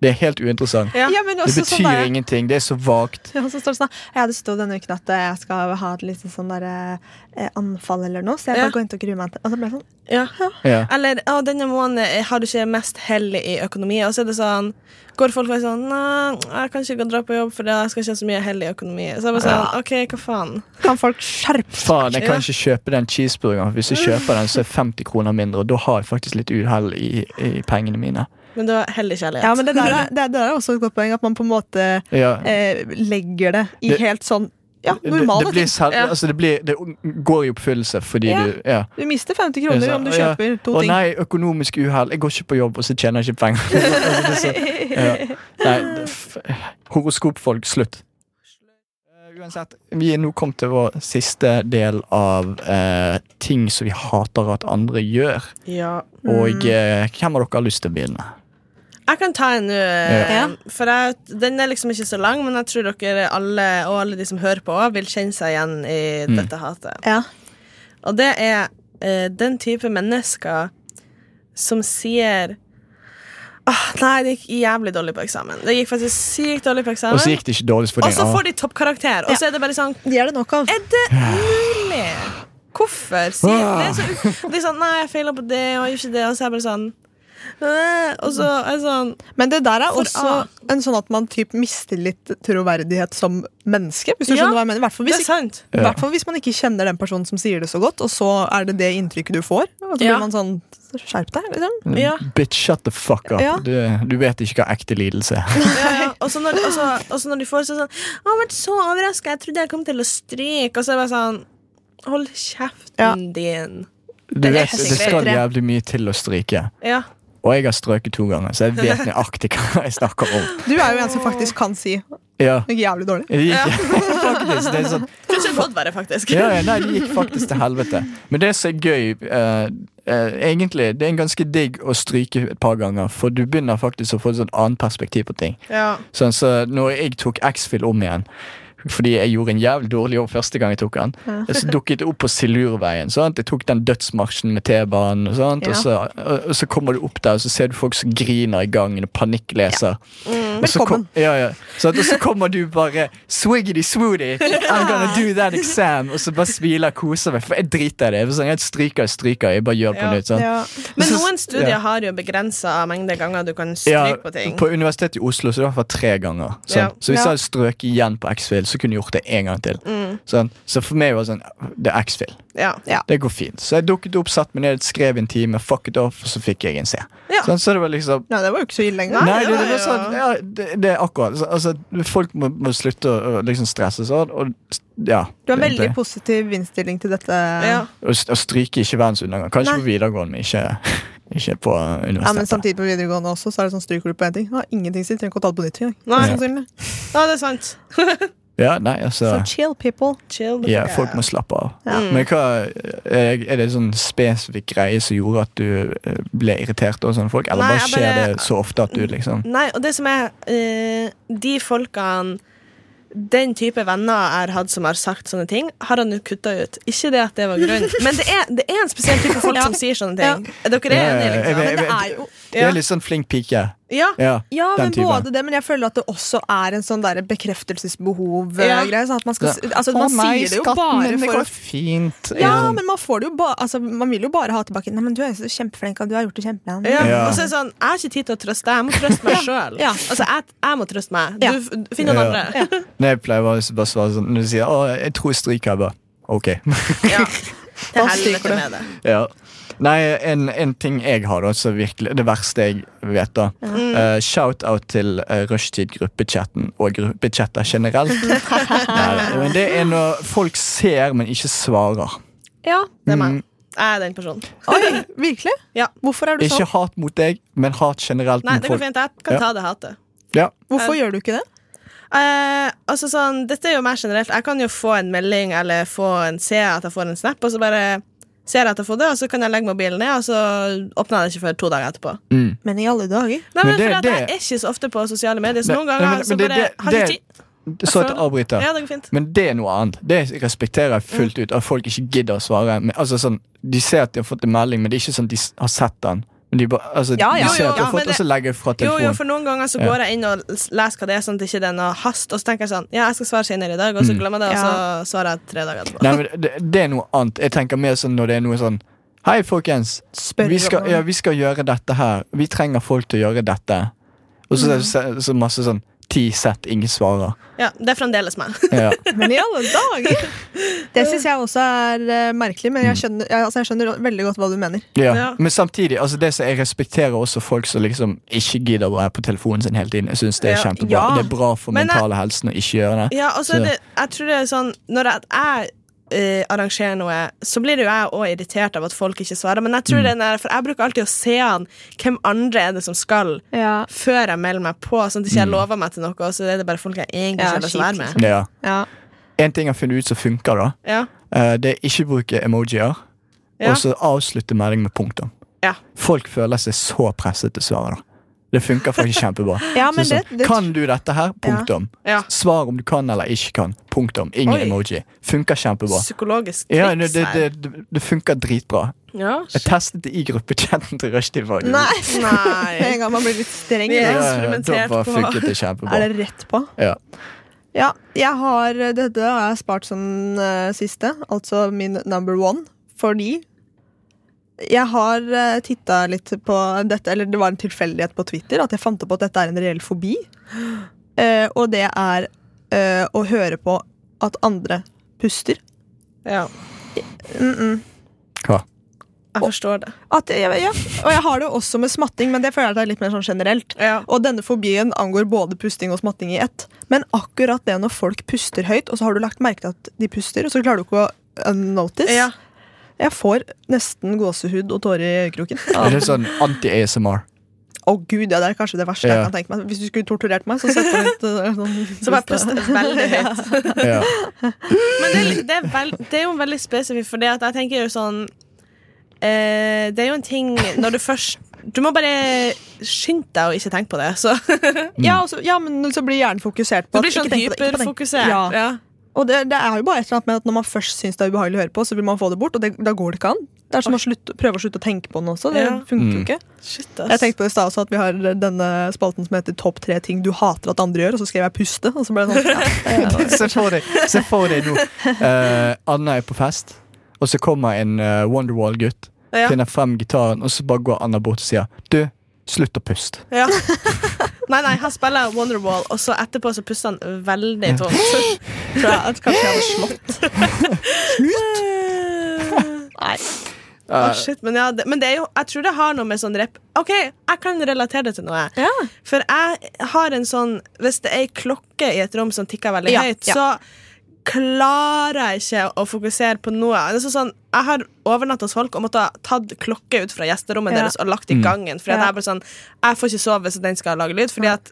Speaker 5: Det er helt uinteressant.
Speaker 6: Ja.
Speaker 7: ja, men
Speaker 5: Det
Speaker 7: også
Speaker 5: betyr
Speaker 7: sånn der,
Speaker 5: ingenting. Det er så vagt.
Speaker 7: Ja, så står det sånn Ja, det sto denne uken at eh, jeg skal ha et lite sånn der eh, anfall eller noe, så jeg
Speaker 6: Ja.
Speaker 7: bare går inn og gruer meg til Og så ble jeg sånn
Speaker 6: Ja.
Speaker 5: Ja.
Speaker 6: Eller å, denne måneden har du ikke mest hell i økonomi. Og så er det sånn Går folk og er sånn Nei, jeg kan ikke gå og dra på jobb, for jeg skal ikke ha så mye hell i økonomi. Så jeg bare sånn, OK, hva faen?
Speaker 7: Kan folk skjerpe seg?
Speaker 5: Faen, jeg kan ikke kjøpe den cheeseburgeren. Hvis jeg kjøper den, så er 50 kroner mindre, og da har jeg faktisk litt uhell i, i pengene mine.
Speaker 6: Men det var hell i kjærlighet.
Speaker 7: Ja, men det der, er, det, det der er også et godt poeng, at man på en måte
Speaker 5: Ja.
Speaker 7: eh, legger det i
Speaker 5: Det-
Speaker 7: helt sånn ja,
Speaker 5: Det-
Speaker 7: normale
Speaker 5: det, blir
Speaker 7: ting.
Speaker 5: selv,
Speaker 6: Ja.
Speaker 5: altså, det, blir, det går i oppfyllelse fordi
Speaker 7: Ja.
Speaker 5: du ja.
Speaker 7: Du mister 50 kroner om du
Speaker 5: Ja.
Speaker 7: kjøper to
Speaker 5: Å
Speaker 7: ting.
Speaker 5: nei, økonomisk uhell. Jeg går ikke på jobb, og så tjener jeg ikke penger. Altså, det er så- ja. Nei, det- f- horoskopfolk, slutt. Eh, Uansett, vi er nå kommet til vår siste del av eh, ting som vi hater at andre gjør.
Speaker 6: Ja.
Speaker 5: Og eh, hvem av dere har lyst til å begynne?
Speaker 6: Jeg kan ta en nå,
Speaker 5: Ja.
Speaker 6: eh, for jeg, den er liksom ikke så lang, men jeg tror dere alle, og alle de som hører på, også vil kjenne seg igjen i
Speaker 5: Mm.
Speaker 6: dette hatet.
Speaker 7: Ja.
Speaker 6: Og det er eh, den type mennesker som sier Åh, nei, det gikk jævlig dårlig på eksamen. Det gikk faktisk sykt dårlig på eksamen.
Speaker 5: Og så gikk det ikke dårligst for
Speaker 6: Og så
Speaker 5: deg.
Speaker 6: får de toppkarakter, og så er det bare sånn
Speaker 7: De er det nok av.
Speaker 6: Er det mulig? Hvorfor? Si, det er så
Speaker 5: Ah.
Speaker 6: u- det er sånn Nei, jeg feila på det, og jeg gjorde ikke det, og så er jeg bare sånn «Øh», Og så er jeg sånn
Speaker 7: Men det der er
Speaker 6: For
Speaker 7: også en sånn at man typ mister litt troverdighet som menneske. Hvis du
Speaker 6: Ja.
Speaker 7: skjønner hva jeg mener. I hvert fall
Speaker 6: Det
Speaker 7: hvis,
Speaker 6: er sant.
Speaker 7: I hvert fall hvis man ikke kjenner den personen som sier det så godt, og så er det det inntrykket du får. Og så blir
Speaker 6: Ja.
Speaker 7: man sånn Skjerp deg, liksom.
Speaker 6: Ja.
Speaker 5: Ah, Bitch, shut the fuck up.
Speaker 7: Ja.
Speaker 5: Du, du vet ikke hva ekte lidelse er.
Speaker 6: Ja, ja. Og så når, og så- og så når de får så sånn 'Å, Jeg har vært så overraska, jeg trodde jeg kom til å stryke.' Og så er det bare sånn Hold kjeften
Speaker 7: Ja.
Speaker 6: din.
Speaker 5: Du vet,
Speaker 6: sikkert
Speaker 5: det skal
Speaker 6: tre.
Speaker 5: jævlig mye til å stryke.
Speaker 6: Ja.
Speaker 5: Og jeg har strøket to ganger, så jeg vet nøyaktig hva jeg snakker om.
Speaker 7: Du er jo en som faktisk kan si
Speaker 5: Ja.
Speaker 7: noe jævlig dårlig.
Speaker 5: Det gikk faktisk. Det er sånn,
Speaker 6: Kanskje godt være, faktisk.
Speaker 5: ja, ja, nei, det gikk faktisk til helvete. Men det som er gøy eh, eh, Egentlig, det er en ganske digg å stryke et par ganger, for du begynner faktisk å få et sånn annet perspektiv på ting.
Speaker 6: Ja.
Speaker 5: Sånn, så når jeg tok X-Fill om igjen fordi jeg gjorde en jævlig dårlig jobb første gang jeg tok den. Så dukket det opp på Silurveien. sant? Jeg tok den dødsmarsjen med T-banen. Og, sånt, og, så, og, og så kommer du opp der, og så ser du folk som griner i gangen og panikkleser. Og så kom, ja, ja. Sant? og så kommer du bare swiggity swooty, I'm gonna do that exam. Og så bare smiler og koser meg. For jeg driter i det. Jeg, er sånn, jeg stryker, jeg stryker, jeg bare gjør det på
Speaker 6: Ja.
Speaker 5: nytt. sant?
Speaker 7: Ja.
Speaker 6: Men
Speaker 5: Så-
Speaker 6: noen studier
Speaker 5: ja.
Speaker 6: har jo begrensa mengde ganger du kan
Speaker 5: Ja,
Speaker 6: stryke på ting.
Speaker 5: på Universitetet i Oslo så det var for tre ganger. Sånn.
Speaker 6: Ja.
Speaker 5: Så hvis jeg
Speaker 7: Ja. Mm.
Speaker 5: hadde strøket igjen på X-Fil, så kunne jeg gjort det en gang til. Sånn. Så for meg var det sånn Det er X-Fil.
Speaker 6: Ja.
Speaker 5: Det går fint. Så jeg dukket opp, satt meg ned, skrev en time, fuck it off, og så fikk jeg en C.
Speaker 6: Ja.
Speaker 5: Sånn, så det var liksom
Speaker 7: Nei, det var jo ikke så ille engang.
Speaker 5: Nei, det, det,
Speaker 6: ja,
Speaker 5: var sånn, ja, det, det er akkurat så- altså, Folk må, må slutte å å liksom stresse sånn. Og, ja,
Speaker 7: Du har veldig
Speaker 5: egentlig.
Speaker 7: positiv innstilling til dette.
Speaker 6: Ja.
Speaker 5: Å st- å stryke ikke verdens undergang. Kanskje
Speaker 7: Nei.
Speaker 5: på videregående, men ikke, ikke på universitetet.
Speaker 7: Ja, men samtidig på videregående også, så er det sånn stryker du på én ting. Ja, ingenting sitt, trenger ikke å ta det på nytt engang.
Speaker 6: Nei.
Speaker 7: mest sannsynlig.
Speaker 6: ja, det er sant.
Speaker 5: Ja, nei, altså
Speaker 7: Så chill, people.
Speaker 6: Chill. the
Speaker 5: Ja,
Speaker 6: fuck
Speaker 5: folk
Speaker 6: out.
Speaker 5: må slappe av.
Speaker 7: Ja.
Speaker 5: Men hva, er er det sånn spesifikk greie som gjorde at du eh, ble irritert av sånne folk? Eller
Speaker 6: Nei,
Speaker 5: bare
Speaker 6: jeg
Speaker 5: skjer
Speaker 6: bare-
Speaker 5: det så ofte at du liksom
Speaker 7: Mm,
Speaker 6: Nei, og det som er eh, De folkene den type venner jeg har hatt som har sagt sånne ting, har han jo kutta ut. Ikke det at det var grunnen, men det er, det er en spesiell type folk som sier sånne ting. Er dere
Speaker 5: Ja, ja, ja.
Speaker 6: enige,
Speaker 5: Jeg vet-
Speaker 6: liksom?
Speaker 7: Men det
Speaker 5: jeg vet-
Speaker 7: er jo
Speaker 5: Det er litt sånn flink pike.
Speaker 7: Ja,
Speaker 5: Ja,
Speaker 7: ja
Speaker 5: den
Speaker 7: men
Speaker 5: type.
Speaker 7: både det, men jeg føler at det også er en sånn der
Speaker 6: Ja.
Speaker 7: bekreftelsesbehov-greie. Sånn at man skal,
Speaker 5: Ja.
Speaker 7: altså, man sier det jo bare
Speaker 5: det
Speaker 7: for å
Speaker 5: går fint.
Speaker 7: Ja, men man får det jo ba altså, Man vil jo bare ha tilbake Nei, men du er jo så kjempeflink, og du har gjort det kjempebra.
Speaker 6: Ja.
Speaker 5: Ja.
Speaker 6: Og så er det sånn, jeg har ikke tid til å trøste deg. Jeg må trøste meg sjøl.
Speaker 7: Ja.
Speaker 6: Altså, jeg, jeg må trøste meg.
Speaker 7: Ja.
Speaker 6: Du f- finn noen
Speaker 5: Ja.
Speaker 6: andre.
Speaker 5: Nei, jeg pleier bare å bare svare sånn Når du sier 'Å, jeg tror jeg stryker', jeg bare OK.
Speaker 6: Ja.
Speaker 7: Da
Speaker 6: Til
Speaker 7: stryker du.
Speaker 6: helvete med det.
Speaker 5: ja. Nei, en, en ting jeg har, da, som virkelig Det verste jeg vet, da. eh, Shout-out til eh, rushtid-gruppechatten og gruppechatter generelt. Nei, men det er når folk ser, men ikke svarer.
Speaker 7: Ja.
Speaker 6: Det er
Speaker 5: Mm.
Speaker 6: meg. Jeg er den personen.
Speaker 7: Oi, virkelig?
Speaker 6: Ja.
Speaker 7: Hvorfor er du
Speaker 5: Ikke
Speaker 7: sånn?
Speaker 5: hat mot deg, men hat generelt
Speaker 6: Nei,
Speaker 5: mot
Speaker 6: det går
Speaker 5: Mm, folk.
Speaker 6: fint. Altså, Jeg kan
Speaker 5: Ja.
Speaker 6: ta det hatet.
Speaker 5: Ja.
Speaker 7: Hvorfor gjør du ikke det?
Speaker 6: Eh, altså sånn, Dette er jo mer generelt. Jeg kan jo få en melding eller få en, se at jeg får en snap, og så bare ser jeg at jeg har fått det, og så kan jeg legge mobilen ned, og så åpner jeg det ikke før to dager etterpå.
Speaker 7: Men i alle dager.
Speaker 6: Nei,
Speaker 5: Men
Speaker 6: men,
Speaker 5: det-
Speaker 6: for at
Speaker 5: det-
Speaker 6: Jeg er ikke så ofte på sosiale medier, så
Speaker 5: Nei,
Speaker 6: noen
Speaker 5: nei,
Speaker 6: ganger
Speaker 5: men-
Speaker 6: så
Speaker 5: men det-
Speaker 6: bare
Speaker 5: det-
Speaker 6: har jeg
Speaker 5: det-
Speaker 6: ikke tid. Altså,
Speaker 5: Så at jeg avbryter.
Speaker 6: Ja, det går fint.
Speaker 5: Men det er noe annet. Det respekterer jeg fullt ut. At folk ikke gidder å svare. Men, altså, sånn, de ser at de har fått en melding, men det er ikke sånn at de s- har sett den. Men de, bare- altså,
Speaker 7: Ja, ja,
Speaker 5: de ser
Speaker 6: jo,
Speaker 5: at de
Speaker 6: ja,
Speaker 5: har
Speaker 6: men
Speaker 5: fått, og så
Speaker 6: det-
Speaker 5: legger jeg fra
Speaker 6: Jo,
Speaker 5: telefonen.
Speaker 6: jo, for noen ganger så
Speaker 5: Ja.
Speaker 6: går jeg inn og s- leser hva det er, sånn at det ikke er noe hast, og så tenker jeg sånn Ja, jeg skal svare senere i dag, og så
Speaker 5: Mm.
Speaker 6: glemmer jeg det, og
Speaker 7: Ja.
Speaker 6: så svarer jeg tre dager etterpå.
Speaker 5: Nei, men det, det er noe annet. Jeg tenker mer sånn når det er noe sånn Hei, folkens.
Speaker 7: Spør
Speaker 5: vi, skal,
Speaker 7: om-
Speaker 5: ja, vi skal gjøre dette her. Vi trenger folk til å gjøre dette. Og så, så,
Speaker 6: Mm.
Speaker 5: så masse sånn ti sett, ingen svarer.
Speaker 6: Ja, det er fremdeles meg.
Speaker 5: Ja.
Speaker 7: Men i alle dager! Det syns jeg også er eh, merkelig, men jeg skjønner, jeg, altså, jeg skjønner veldig godt hva du mener.
Speaker 5: Ja.
Speaker 6: Ja.
Speaker 5: Men samtidig, altså det som jeg respekterer også folk som liksom ikke gidder å være på telefonen sin hele tiden. Jeg synes det er
Speaker 6: Ja.
Speaker 5: kjempebra.
Speaker 7: Ja.
Speaker 5: Det er bra for
Speaker 6: Men eh, jeg-
Speaker 5: mentale helsen å ikke gjøre det.
Speaker 6: Ja, og så
Speaker 5: Så-
Speaker 6: er det Jeg tror det er sånn Når jeg, jeg eh, arrangerer noe, så blir det jo jeg òg irritert av at folk ikke svarer. Men jeg
Speaker 5: Mm.
Speaker 6: tror det er den der, For jeg bruker alltid å se an hvem andre er det som skal,
Speaker 7: Ja.
Speaker 6: før jeg melder meg på. Sånn at
Speaker 5: Mm.
Speaker 6: ikke jeg lover meg til noe, og så er det bare folk jeg egentlig ikke
Speaker 7: Ja,
Speaker 6: har lyst til å
Speaker 7: kjipt,
Speaker 6: være med.
Speaker 5: Det er-
Speaker 7: Ja.
Speaker 5: En ting jeg har funnet ut som funker, da,
Speaker 6: Ja.
Speaker 5: eh, det er ikke bruke emojier.
Speaker 6: Ja.
Speaker 5: Og så avslutte melding med punktum.
Speaker 6: Ja.
Speaker 5: Folk føler seg så presset til svaret. da Det funker faktisk kjempebra.
Speaker 7: Ja, men
Speaker 5: Så sånn,
Speaker 7: det- det-
Speaker 5: kan du dette her? Punktum.
Speaker 6: Ja.
Speaker 5: Svar om du kan eller ikke kan. Punktum. Ingen
Speaker 6: Oi.
Speaker 5: emoji. Funker kjempebra.
Speaker 6: Psykologisk triks
Speaker 5: Ja, det, det,
Speaker 6: her.
Speaker 5: det, det- det funker dritbra.
Speaker 6: Ja.
Speaker 5: Jeg testet det i gruppechatten til Rushdie. faktisk.
Speaker 7: Nei!
Speaker 6: Nei.
Speaker 7: En gang man blir litt streng.
Speaker 6: Vi
Speaker 5: Ja, ja, ja,
Speaker 6: er
Speaker 5: da
Speaker 6: eksperimentert
Speaker 5: bare
Speaker 6: på.
Speaker 5: funket det
Speaker 7: Er
Speaker 5: kjempebra.
Speaker 7: det rett på?
Speaker 5: Ja.
Speaker 7: Ja, jeg har, dette har jeg spart som eh, siste, altså min number one, fordi jeg har uh, titta litt på dette, eller det var en tilfeldighet på Twitter, at jeg fant opp at dette er en reell fobi. Eh, og det er eh, å høre på at andre puster.
Speaker 6: Ja,
Speaker 7: Mm -mm.
Speaker 5: Hva?
Speaker 6: jeg forstår det.
Speaker 7: At, ja, ja. Og jeg har det også med smatting, men det føler jeg at det er litt mer sånn generelt.
Speaker 6: Ja.
Speaker 7: Og denne fobien angår både pusting og smatting i ett. Men akkurat det når folk puster høyt, og så har du lagt merke til at de puster, og så klarer du ikke å unnotice.
Speaker 6: Ja.
Speaker 7: Jeg får nesten gåsehud og tårer i øyekroken. Å
Speaker 5: Er det sånn anti-ASMR?
Speaker 7: gud, ja, det er kanskje det verste
Speaker 5: Ja.
Speaker 7: jeg kan tenke meg. Hvis du skulle torturert meg, så setter jeg litt eh, sånn
Speaker 6: Så bare puste veldig høyt.
Speaker 5: Ja.
Speaker 6: Men det, er litt- det, er vel, det er jo veldig spesifikt, for det at jeg tenker jo sånn eh, Det er jo en ting når du først Du må bare skynde deg og ikke tenke på det. Så
Speaker 5: Mm.
Speaker 7: Ja, og så- ja, men så blir hjernen fokusert på
Speaker 6: du
Speaker 7: at
Speaker 6: blir sånn
Speaker 7: ikke tenk på det, ikke på det.
Speaker 6: hyperfokusert.
Speaker 7: Ja.
Speaker 6: Ja.
Speaker 7: Og det, det er jo bare et eller annet med at når man først syns det er ubehagelig å høre på, så vil man få det bort, og det, da går det ikke an. Det er som å slutte, prøve å slutte å tenke på den også. Det
Speaker 6: Ja.
Speaker 7: funker
Speaker 5: Mm.
Speaker 7: jo ikke.
Speaker 6: Shit,
Speaker 7: Jeg
Speaker 6: ass.
Speaker 7: tenkte på det i stad også at vi har denne spalten som heter Topp tre ting du hater at andre gjør, og så skrev jeg puste, og så ble det sånn.
Speaker 5: Se for deg, se for deg nå. Eh, Anna er på fest, og så kommer en eh, Wonderwall-gutt.
Speaker 6: Ja.
Speaker 5: Finner frem gitaren, og så bare går Anna bort og sier Du, slutt å puste.
Speaker 6: Ja. Nei, nei, han spiller Wonderwall, og så etterpå så puster han veldig tungt.
Speaker 7: Tror jeg at kanskje jeg hadde slått.
Speaker 6: Å, shit, men, ja, det, men det er jo, jeg tror det har noe med sånn rep OK, jeg kan relatere det til noe. For jeg har en sånn Hvis det er ei klokke i et rom som tikker veldig
Speaker 7: Ja,
Speaker 6: høyt,
Speaker 7: ja.
Speaker 6: så klarer jeg ikke å fokusere på noe. Det er sånn, sånn, jeg har overnatta hos folk og måtte ha tatt klokke ut fra gjesterommet
Speaker 7: Ja.
Speaker 6: deres og lagt i gangen. Fordi at
Speaker 7: Ja.
Speaker 6: jeg, er bare sånn, jeg får ikke sove hvis den skal lage lyd, Fordi at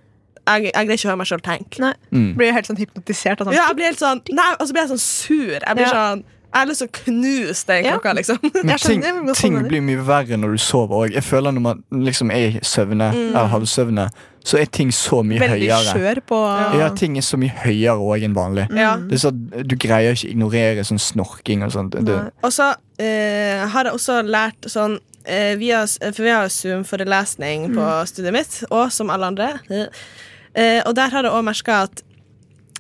Speaker 6: jeg, jeg greier ikke å høre meg sjøl tenke.
Speaker 7: Nei.
Speaker 5: Mm.
Speaker 7: Blir helt sånn hypnotisert. Og sånn.
Speaker 6: Ja, jeg blir helt sånn Nei, og så blir jeg sånn sur. Jeg blir
Speaker 7: Ja.
Speaker 6: sånn Jeg har lyst til å knuse den
Speaker 7: Ja.
Speaker 6: klokka, liksom.
Speaker 5: Men
Speaker 7: Jeg
Speaker 5: ting,
Speaker 7: skjønner, jeg vil godt
Speaker 5: ting
Speaker 7: skjønne det.
Speaker 5: blir mye verre når du sover òg. Jeg føler når man liksom er i søvne, eller halvsøvne, så er ting så mye
Speaker 7: Mm. Veldig
Speaker 5: høyere.
Speaker 7: skjør på
Speaker 5: Ja, ting er så mye høyere òg enn vanlig.
Speaker 6: Ja.
Speaker 5: Det er sånn, Du greier ikke ignorere sånn snorking og sånt. Det,
Speaker 7: Nei.
Speaker 6: Og så eh, har jeg også lært sånn eh, vi har, for vi har Zoom-forelesning på
Speaker 7: Mm.
Speaker 6: studiet mitt, og som alle andre. Eh, og der har jeg òg merka at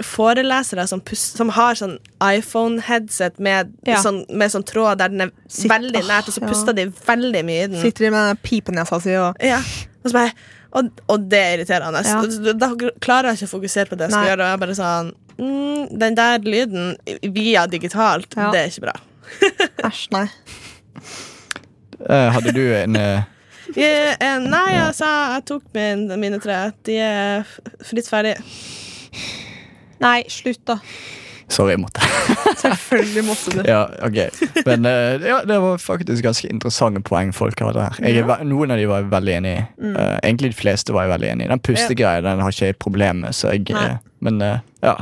Speaker 6: forelesere som, pus som har sånn iPhone-headset med,
Speaker 7: Ja.
Speaker 6: sånn, med sånn tråd der den er
Speaker 7: Sitt-
Speaker 6: veldig
Speaker 7: Åh,
Speaker 6: nært, og så
Speaker 7: ja.
Speaker 6: puster de veldig mye i den.
Speaker 7: Sitter de med den der pipenesa si og
Speaker 6: Ja. Og, så bare, og, og det er irriterende.
Speaker 7: Ja.
Speaker 6: Da- Da klarer jeg ikke å fokusere på det jeg skal
Speaker 7: Nei.
Speaker 6: gjøre. Og jeg bare sånn mm, Den der lyden via digitalt,
Speaker 7: Ja.
Speaker 6: det er ikke bra.
Speaker 7: Æsj, nei.
Speaker 5: Eh, hadde du en eh,
Speaker 6: Jeg, eh, nei, altså, jeg tok min, mine tre. De er f- fritt ferdig.
Speaker 7: Nei, slutt, da.
Speaker 5: Sorry, jeg måtte.
Speaker 7: Selvfølgelig måtte du.
Speaker 5: Ja, ok. Men eh, ja, det var faktisk ganske interessante poeng folk hadde her. Jeg, er ve- Noen av de var jeg veldig enig i. Eh, egentlig de fleste var jeg veldig enig i. Den pustegreia den har ikke jeg problem med, så jeg
Speaker 7: Nei.
Speaker 5: eh, Men eh, ja.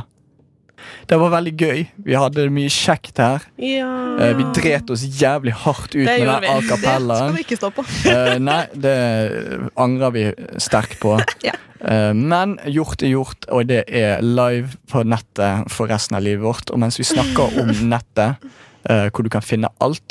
Speaker 5: Det var veldig gøy. Vi hadde det mye kjekt her. Eh, vi dret oss jævlig hardt ut med den
Speaker 6: gjorde
Speaker 5: a
Speaker 6: vi.
Speaker 7: Det skal
Speaker 5: capellaen.
Speaker 7: du ikke stå på.
Speaker 5: Eh, nei, det angrer vi sterkt på.
Speaker 7: Ja.
Speaker 5: Eh, men gjort er gjort, og det er live på nettet for resten av livet vårt. Og mens vi snakker om nettet, eh, hvor du kan finne alt,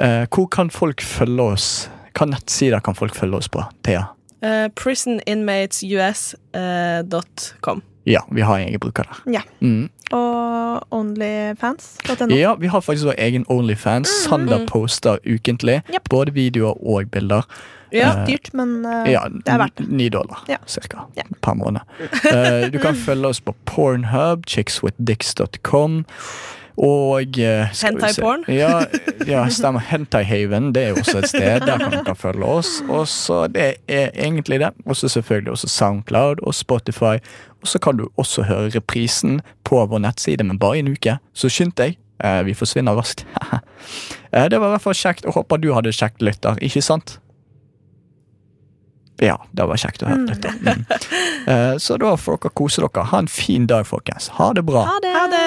Speaker 5: eh, hvor kan folk følge oss? Hvilke nettsider kan folk følge oss på, Thea?
Speaker 6: Eh, Prisoninmatesus.com.
Speaker 5: Ja, vi har en egen bruker der.
Speaker 7: Ja.
Speaker 5: Mm.
Speaker 7: Og onlyfans.no.
Speaker 5: Ja, vi har faktisk vår egen Onlyfans.
Speaker 7: Mm.
Speaker 5: Sander poster ukentlig.
Speaker 7: Yep.
Speaker 5: Både videoer og bilder.
Speaker 7: Ja, dyrt, men eh,
Speaker 5: Ja,
Speaker 7: det er verdt det.
Speaker 5: Ni dollar,
Speaker 7: Ja.
Speaker 5: cirka.
Speaker 7: Ja.
Speaker 5: Per måned. Eh, du kan følge oss på Pornhub, chickswithdicks.com. Og eh, skal vi
Speaker 6: Hentai
Speaker 5: se.
Speaker 6: porn?
Speaker 5: Ja, ja, stemmer. Hentaihaven det er jo også et sted. Der kan dere følge oss. Og så Det er egentlig det. Og så selvfølgelig også Soundcloud og Spotify. Og så kan du også høre reprisen på vår nettside, men bare i en uke. Så skynd deg. Eh, Vi forsvinner raskt. Eh, Det var i hvert fall kjekt, og håper du hadde kjekt, lytter. Ikke sant? Ja, det var kjekt å høre, lytter. Mm. Eh, Så da får dere kose dere. Ha en fin dag, folkens. Ha det bra.
Speaker 7: Ha det!
Speaker 6: Ha det!